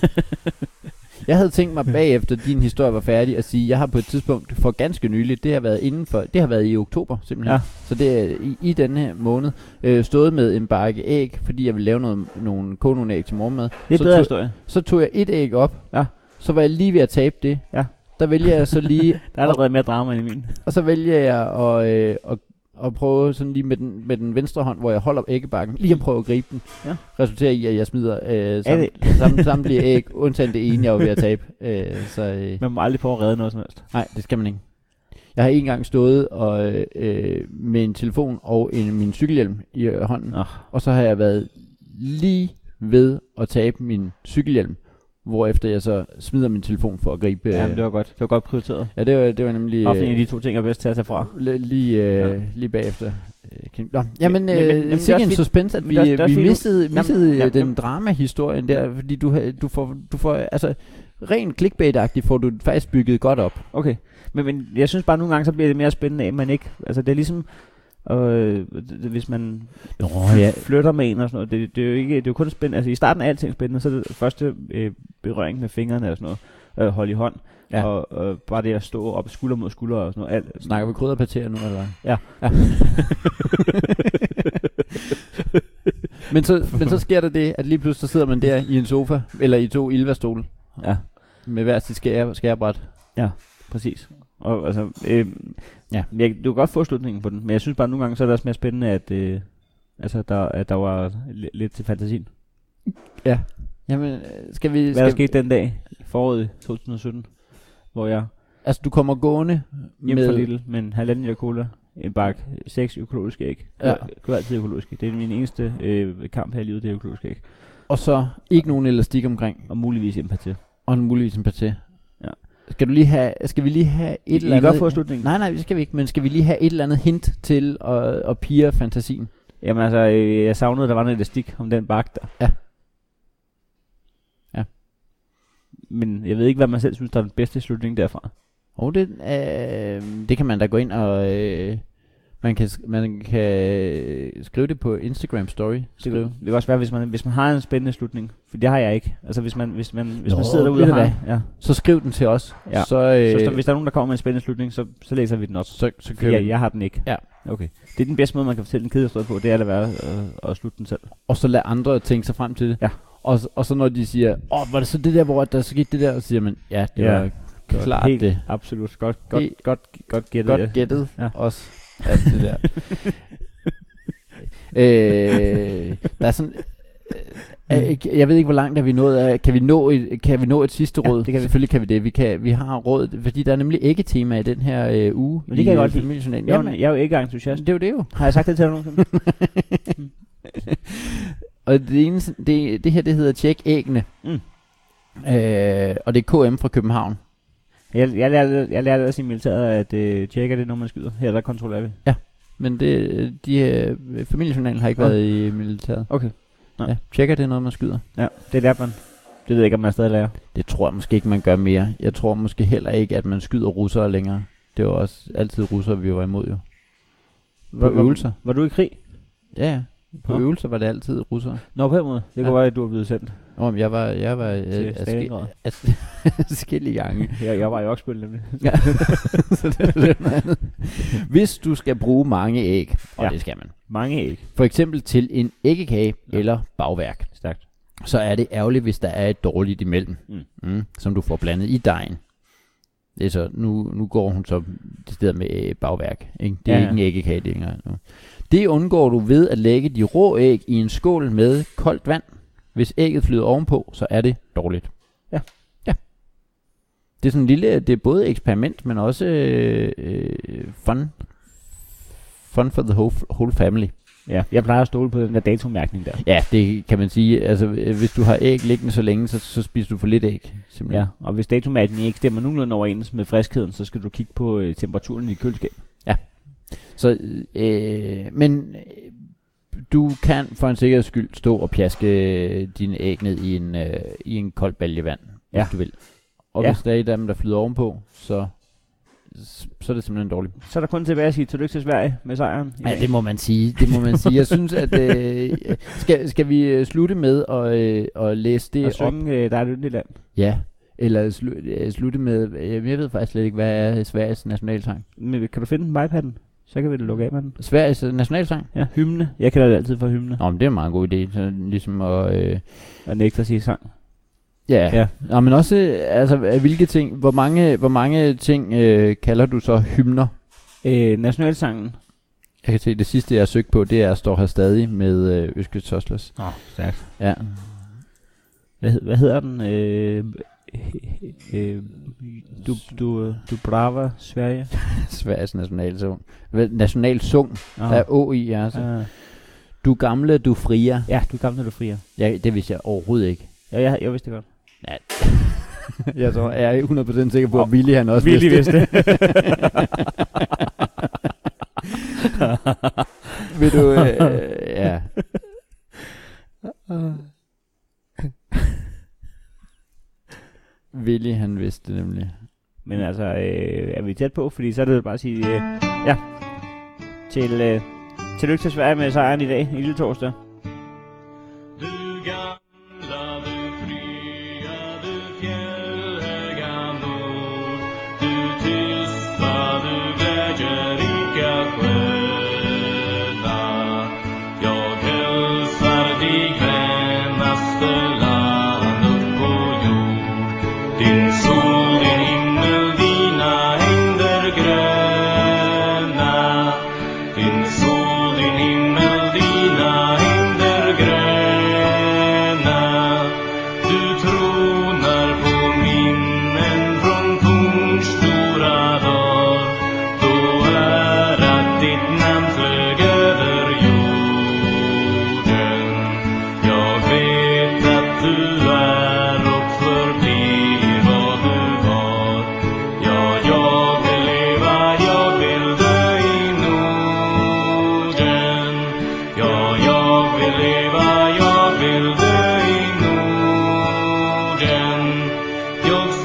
[SPEAKER 1] jeg havde tænkt mig bagefter, din historie var færdig, at sige, jeg har på et tidspunkt for ganske nylig, det har været inden for, det har været i oktober simpelthen,
[SPEAKER 3] Ja.
[SPEAKER 1] så det er i, i denne her måned, øh, stået med en bakke æg, fordi jeg ville lave noget, nogle, koge nogle æg til morgenmad.
[SPEAKER 3] Det er
[SPEAKER 1] Så
[SPEAKER 3] en bedre
[SPEAKER 1] tog-
[SPEAKER 3] historie.
[SPEAKER 1] Så tog jeg et æg op,
[SPEAKER 3] Ja.
[SPEAKER 1] så var jeg lige ved at tabe det.
[SPEAKER 3] Ja.
[SPEAKER 1] Der vælger jeg så lige,
[SPEAKER 3] Der er allerede mere drama end i min.
[SPEAKER 1] og så vælger jeg at, øh, at, at prøve sådan lige med den, med den venstre hånd, hvor jeg holder æggebakken, lige at prøve at gribe den.
[SPEAKER 3] Ja.
[SPEAKER 1] Resulterer i, at jeg smider øh, sammen,
[SPEAKER 3] det-
[SPEAKER 1] sammen, samtlige æg, undtagen det ene, jeg var ved at tabe. Øh, så øh,
[SPEAKER 3] Man må aldrig prøve at redde noget som helst.
[SPEAKER 1] nej, det skal man ikke. Jeg har en gang stået og, øh, øh, med en telefon og en, min cykelhjelm i øh, hånden,
[SPEAKER 3] Nå.
[SPEAKER 1] og så har jeg været lige ved at tabe min cykelhjelm, hvorefter jeg så smider min telefon for at gribe... Øh,
[SPEAKER 3] Ja, det var godt. Det var godt prioriteret.
[SPEAKER 1] ja det, var, det var nemlig... øh,
[SPEAKER 3] Ofte en af de to ting er bedst til at tage fra.
[SPEAKER 1] L- lige, øh, ja. lige bagefter. Øh, kan- Nå, jamen,
[SPEAKER 3] men-
[SPEAKER 1] øh,
[SPEAKER 3] men- men
[SPEAKER 1] jamen,
[SPEAKER 3] det er
[SPEAKER 1] sikke
[SPEAKER 3] også
[SPEAKER 1] en
[SPEAKER 3] fint.
[SPEAKER 1] suspense, at
[SPEAKER 3] Men
[SPEAKER 1] vi,
[SPEAKER 3] det er også- det
[SPEAKER 1] øh,
[SPEAKER 3] er også
[SPEAKER 1] vi
[SPEAKER 3] fint nu.
[SPEAKER 1] mistede,
[SPEAKER 3] Jamen,
[SPEAKER 1] mistede øh,
[SPEAKER 3] jamen,
[SPEAKER 1] den
[SPEAKER 3] jamen.
[SPEAKER 1] dramahistorien der, fordi du, ha- du får, du får altså, rent clickbait-agtigt får du den faktisk bygget godt op.
[SPEAKER 3] Okay. Men, men jeg synes bare, nogle gange, så bliver det mere spændende, at man ikke... Altså, det er ligesom... Øh, d- d- hvis man
[SPEAKER 1] Nå,
[SPEAKER 3] flytter med en og sådan noget, det, det, er jo ikke, det er jo kun spændende. Altså i starten er alting spændende, så er det første øh, berøring med fingrene og sådan noget. øh, holde i hånd,
[SPEAKER 1] Ja.
[SPEAKER 3] ja. og øh, bare det at stå op skulder mod skulder og sådan noget. Alt,
[SPEAKER 1] Snakker vi krydderpartier nu, eller?
[SPEAKER 3] Ja.
[SPEAKER 1] ja. men, så, men så sker der det, at lige pludselig så sidder man der i en sofa, eller i to ilvastole,
[SPEAKER 3] Ja,
[SPEAKER 1] med hver sit skære, skærebræt.
[SPEAKER 3] præcis. Og, altså, øh, ja, men jeg, du kan godt få slutningen på den, men jeg synes bare, at nogle gange så er det også mere spændende, at, øh, altså, der, at der var li- lidt til fantasien.
[SPEAKER 1] Jamen, øh, skal vi...
[SPEAKER 3] Hvad der
[SPEAKER 1] Skal,
[SPEAKER 3] skete den dag, foråret 2017, hvor jeg
[SPEAKER 1] altså, du kommer gående
[SPEAKER 3] hjem fra
[SPEAKER 1] med...
[SPEAKER 3] Lidl med en halvanden liter cola, en bakke, seks økologiske æg.
[SPEAKER 1] Ja.
[SPEAKER 3] Ja. Køber altid økologiske. Det er min eneste øh, kamp her i livet, det er økologiske æg.
[SPEAKER 1] Og så ikke nogen elastik omkring,
[SPEAKER 3] Og muligvis empati. Et
[SPEAKER 1] og en muligvis en paté.
[SPEAKER 3] Ja.
[SPEAKER 1] Skal, du lige have, skal vi lige have et
[SPEAKER 3] I,
[SPEAKER 1] eller
[SPEAKER 3] I kan
[SPEAKER 1] andet...
[SPEAKER 3] godt få slutningen.
[SPEAKER 1] Nej, nej, det skal vi ikke, men skal vi lige have et eller andet hint til at, at pire fantasien?
[SPEAKER 3] Jamen altså, øh, jeg savnede, at der var noget elastik om den bakke der.
[SPEAKER 1] Ja. Ja.
[SPEAKER 3] Men jeg ved ikke, hvad man selv synes, der er den bedste slutning derfra.
[SPEAKER 1] Og det, øh, det kan man da gå ind og... Øh, man kan, sk- man kan øh, skrive det på Instagram Story. Skrive.
[SPEAKER 3] Det kan også være, hvis man, hvis man har en spændende slutning. For det har jeg ikke. Altså, hvis man, hvis man, hvis
[SPEAKER 1] Nå,
[SPEAKER 3] man sidder derude
[SPEAKER 1] ved
[SPEAKER 3] og
[SPEAKER 1] du
[SPEAKER 3] har...
[SPEAKER 1] hvad?
[SPEAKER 3] Ja.
[SPEAKER 1] Så skriv den til os.
[SPEAKER 3] Ja.
[SPEAKER 1] Så, øh,
[SPEAKER 3] Så, så, hvis der er nogen, der kommer med en spændende slutning, så, så læser vi den op.
[SPEAKER 1] så, så kører
[SPEAKER 3] Ja,
[SPEAKER 1] vi.
[SPEAKER 3] jeg har den ikke.
[SPEAKER 1] Ja.
[SPEAKER 3] Okay. Det er den bedste måde, man kan fortælle en kedehistorie på, det er at lade være øh, at slutte den selv.
[SPEAKER 1] Og så lad andre tænke sig frem til det.
[SPEAKER 3] Ja.
[SPEAKER 1] Og, s- og så når de siger, åh, var det så det der, hvor der skete det der? Og så siger man, ja, det
[SPEAKER 3] Ja.
[SPEAKER 1] var klart
[SPEAKER 3] Helt,
[SPEAKER 1] det.
[SPEAKER 3] Absolut. Godt, godt,
[SPEAKER 1] Det-
[SPEAKER 3] det, godt, godt gættet. ja.
[SPEAKER 1] Godt gættet ja.
[SPEAKER 3] Ja.
[SPEAKER 1] også. Alt det der. øh, der er sådan... øh, øh, Jeg ved ikke, hvor langt er vi nået af. Kan vi nå et, kan vi nå et sidste
[SPEAKER 3] Ja,
[SPEAKER 1] råd?
[SPEAKER 3] det kan vi.
[SPEAKER 1] Selvfølgelig kan vi det. Vi, kan, vi har råd, fordi der er nemlig ikke tema i den her øh, uge.
[SPEAKER 3] Men det kan jeg godt lide.
[SPEAKER 1] lide.
[SPEAKER 3] Jeg, er jo,
[SPEAKER 1] Jamen,
[SPEAKER 3] jeg er jo ikke entusiast.
[SPEAKER 1] det er jo det jo.
[SPEAKER 3] Har jeg sagt det til dig nogensinde? Mm.
[SPEAKER 1] Og det, eneste, det, det her, det hedder Tjek æggene.
[SPEAKER 3] Mm.
[SPEAKER 1] Øh, og det er KM fra København.
[SPEAKER 3] Jeg, jeg, lærte, jeg lærte også i militæret, at øh, tjekker det, når man skyder. Her, der kontrollerer vi.
[SPEAKER 1] Men det, de, øh, familiejournalen har ikke
[SPEAKER 3] Nå.
[SPEAKER 1] været i militæret.
[SPEAKER 3] Okay. Nå.
[SPEAKER 1] Ja, tjekker det er noget, man skyder.
[SPEAKER 3] Ja, det lærte man. Det ved jeg ikke, om man stadig lærer.
[SPEAKER 1] Det tror jeg måske ikke, man gør mere. Jeg tror måske heller ikke, at man skyder russere længere. Det var også altid russere, vi var imod jo. På
[SPEAKER 3] Hvor- hvor-
[SPEAKER 1] øvelser.
[SPEAKER 3] Var du i krig?
[SPEAKER 1] Ja, ja. På
[SPEAKER 3] Nå.
[SPEAKER 1] øvelser var det altid russere.
[SPEAKER 3] Nå, på den måde. Det
[SPEAKER 1] Ja.
[SPEAKER 3] kunne være, at du er blevet sendt
[SPEAKER 1] Nå, men jeg var, jeg var øh,
[SPEAKER 3] til
[SPEAKER 1] adske-
[SPEAKER 3] Stalingrad.
[SPEAKER 1] adskillige gange.
[SPEAKER 3] Jeg, jeg var i Oksbøl nemlig.
[SPEAKER 1] Ja. så det er lidt noget andet. Hvis du skal bruge mange æg, og ja.
[SPEAKER 3] Ja.
[SPEAKER 1] det skal man,
[SPEAKER 3] Mange ikke.
[SPEAKER 1] for eksempel til en æggekage ja.
[SPEAKER 3] Ja.
[SPEAKER 1] eller bagværk,
[SPEAKER 3] Stærkt.
[SPEAKER 1] så er det ærgerligt, hvis der er et dårligt imellem, mm.
[SPEAKER 3] Mm.
[SPEAKER 1] Mm, som du får blandet i dejen. Det er så, nu, nu går hun så det sted med øh, bagværk. Ikke? Det er ja.
[SPEAKER 3] Ja,
[SPEAKER 1] ikke
[SPEAKER 3] ja.
[SPEAKER 1] en æggekage det er ikke engang nu. Det undgår du ved at lægge de rå æg i en skål med koldt vand. Hvis ægget flyder ovenpå, så er det dårligt.
[SPEAKER 3] Ja.
[SPEAKER 1] Ja. Det er sådan en lille, det er både eksperiment, men også øh, øh, fun. Fun for the whole, whole family.
[SPEAKER 3] Ja, jeg plejer at stole på den der datomærkning der.
[SPEAKER 1] Ja, det kan man sige. Altså, øh, hvis du har æg liggende så længe, så, så spiser du for lidt æg. Simpelthen.
[SPEAKER 3] Ja, og hvis datomærkningen ikke stemmer nogenlunde overens med friskheden, så skal du kigge på øh, temperaturen i køleskab.
[SPEAKER 1] Så, øh, men øh, du kan for en sikkerheds skyld stå og pjaske øh, dine æg ned i en, øh, i en kold balje vand, ja.
[SPEAKER 3] Ja.
[SPEAKER 1] hvis du vil. Og
[SPEAKER 3] Ja.
[SPEAKER 1] hvis der er et af dem, der flyder ovenpå, så, så er det simpelthen dårligt.
[SPEAKER 3] Så er der kun tilbage at sige tillykke til Sverige med sejren. i
[SPEAKER 1] Ja,
[SPEAKER 3] dag.
[SPEAKER 1] det må man sige. Det må man sige. Jeg synes, at øh, skal, skal vi øh, slutte med at, øh, at læse det
[SPEAKER 3] og
[SPEAKER 1] op?
[SPEAKER 3] synge, øh, der er et yndigt land.
[SPEAKER 1] Ja, eller slu- øh, slutte med, øh, jeg ved faktisk slet ikke, hvad er Sveriges nationalsang?
[SPEAKER 3] Men kan du finde den på iPad'en? Så kan vi da lukke af med den.
[SPEAKER 1] Sveriges øh, nationalsang?
[SPEAKER 3] Ja, hymne. Jeg kalder det altid for hymne.
[SPEAKER 1] Nå, men det er en meget god idé, så ligesom at, øh,
[SPEAKER 3] Og nægter at sige sang.
[SPEAKER 1] ja. ja.
[SPEAKER 3] Ja.
[SPEAKER 1] Nå, men også, øh, altså, øh, hvilke ting, hvor mange, hvor mange ting øh, kalder du så hymner?
[SPEAKER 3] Øh, nationalsangen.
[SPEAKER 1] Jeg kan se, det sidste, jeg har søgt på, det er, står her stadig med øh, Øske Toslers.
[SPEAKER 3] Nå, stærkt.
[SPEAKER 1] Ja.
[SPEAKER 3] Hvad, hed- hvad hedder den? Øh, øh, du, du, du brava Sverige.
[SPEAKER 1] Sveriges nationalsang. Vel, Nationalsung,
[SPEAKER 3] Nå.
[SPEAKER 1] der er Å i, altså. Ja.
[SPEAKER 3] Ah.
[SPEAKER 1] Du gamle, du frier.
[SPEAKER 3] Ja, du er gammel, når du frier.
[SPEAKER 1] Ja, det vidste jeg overhovedet ikke.
[SPEAKER 3] Ja, jeg, jeg vidste det godt.
[SPEAKER 1] Jeg tror, jeg er 100% sikker på, at Willy han også
[SPEAKER 3] Willy
[SPEAKER 1] vidste det. Vil du... Øh, ja. Willy han vidste det nemlig.
[SPEAKER 3] Men altså, øh, er vi tæt på? Fordi så er det bare at sige, øh, ja, til, øh, tillykke til Sverige med sejren i dag, i lille torsdag.
[SPEAKER 6] Du gamla, du fria, du fjällhöga Till solen, himmel, dina händer gröna Till solen, himmel, dina händer gröna Du tronar på minnen från fornstora dagar Då ärat ditt namn flög över jorden jag vet att du är och förblir vad du var Ja, jag vill leva, jag vill dö i Norden Ja, jag vill leva, jag vill dö i Norden Jag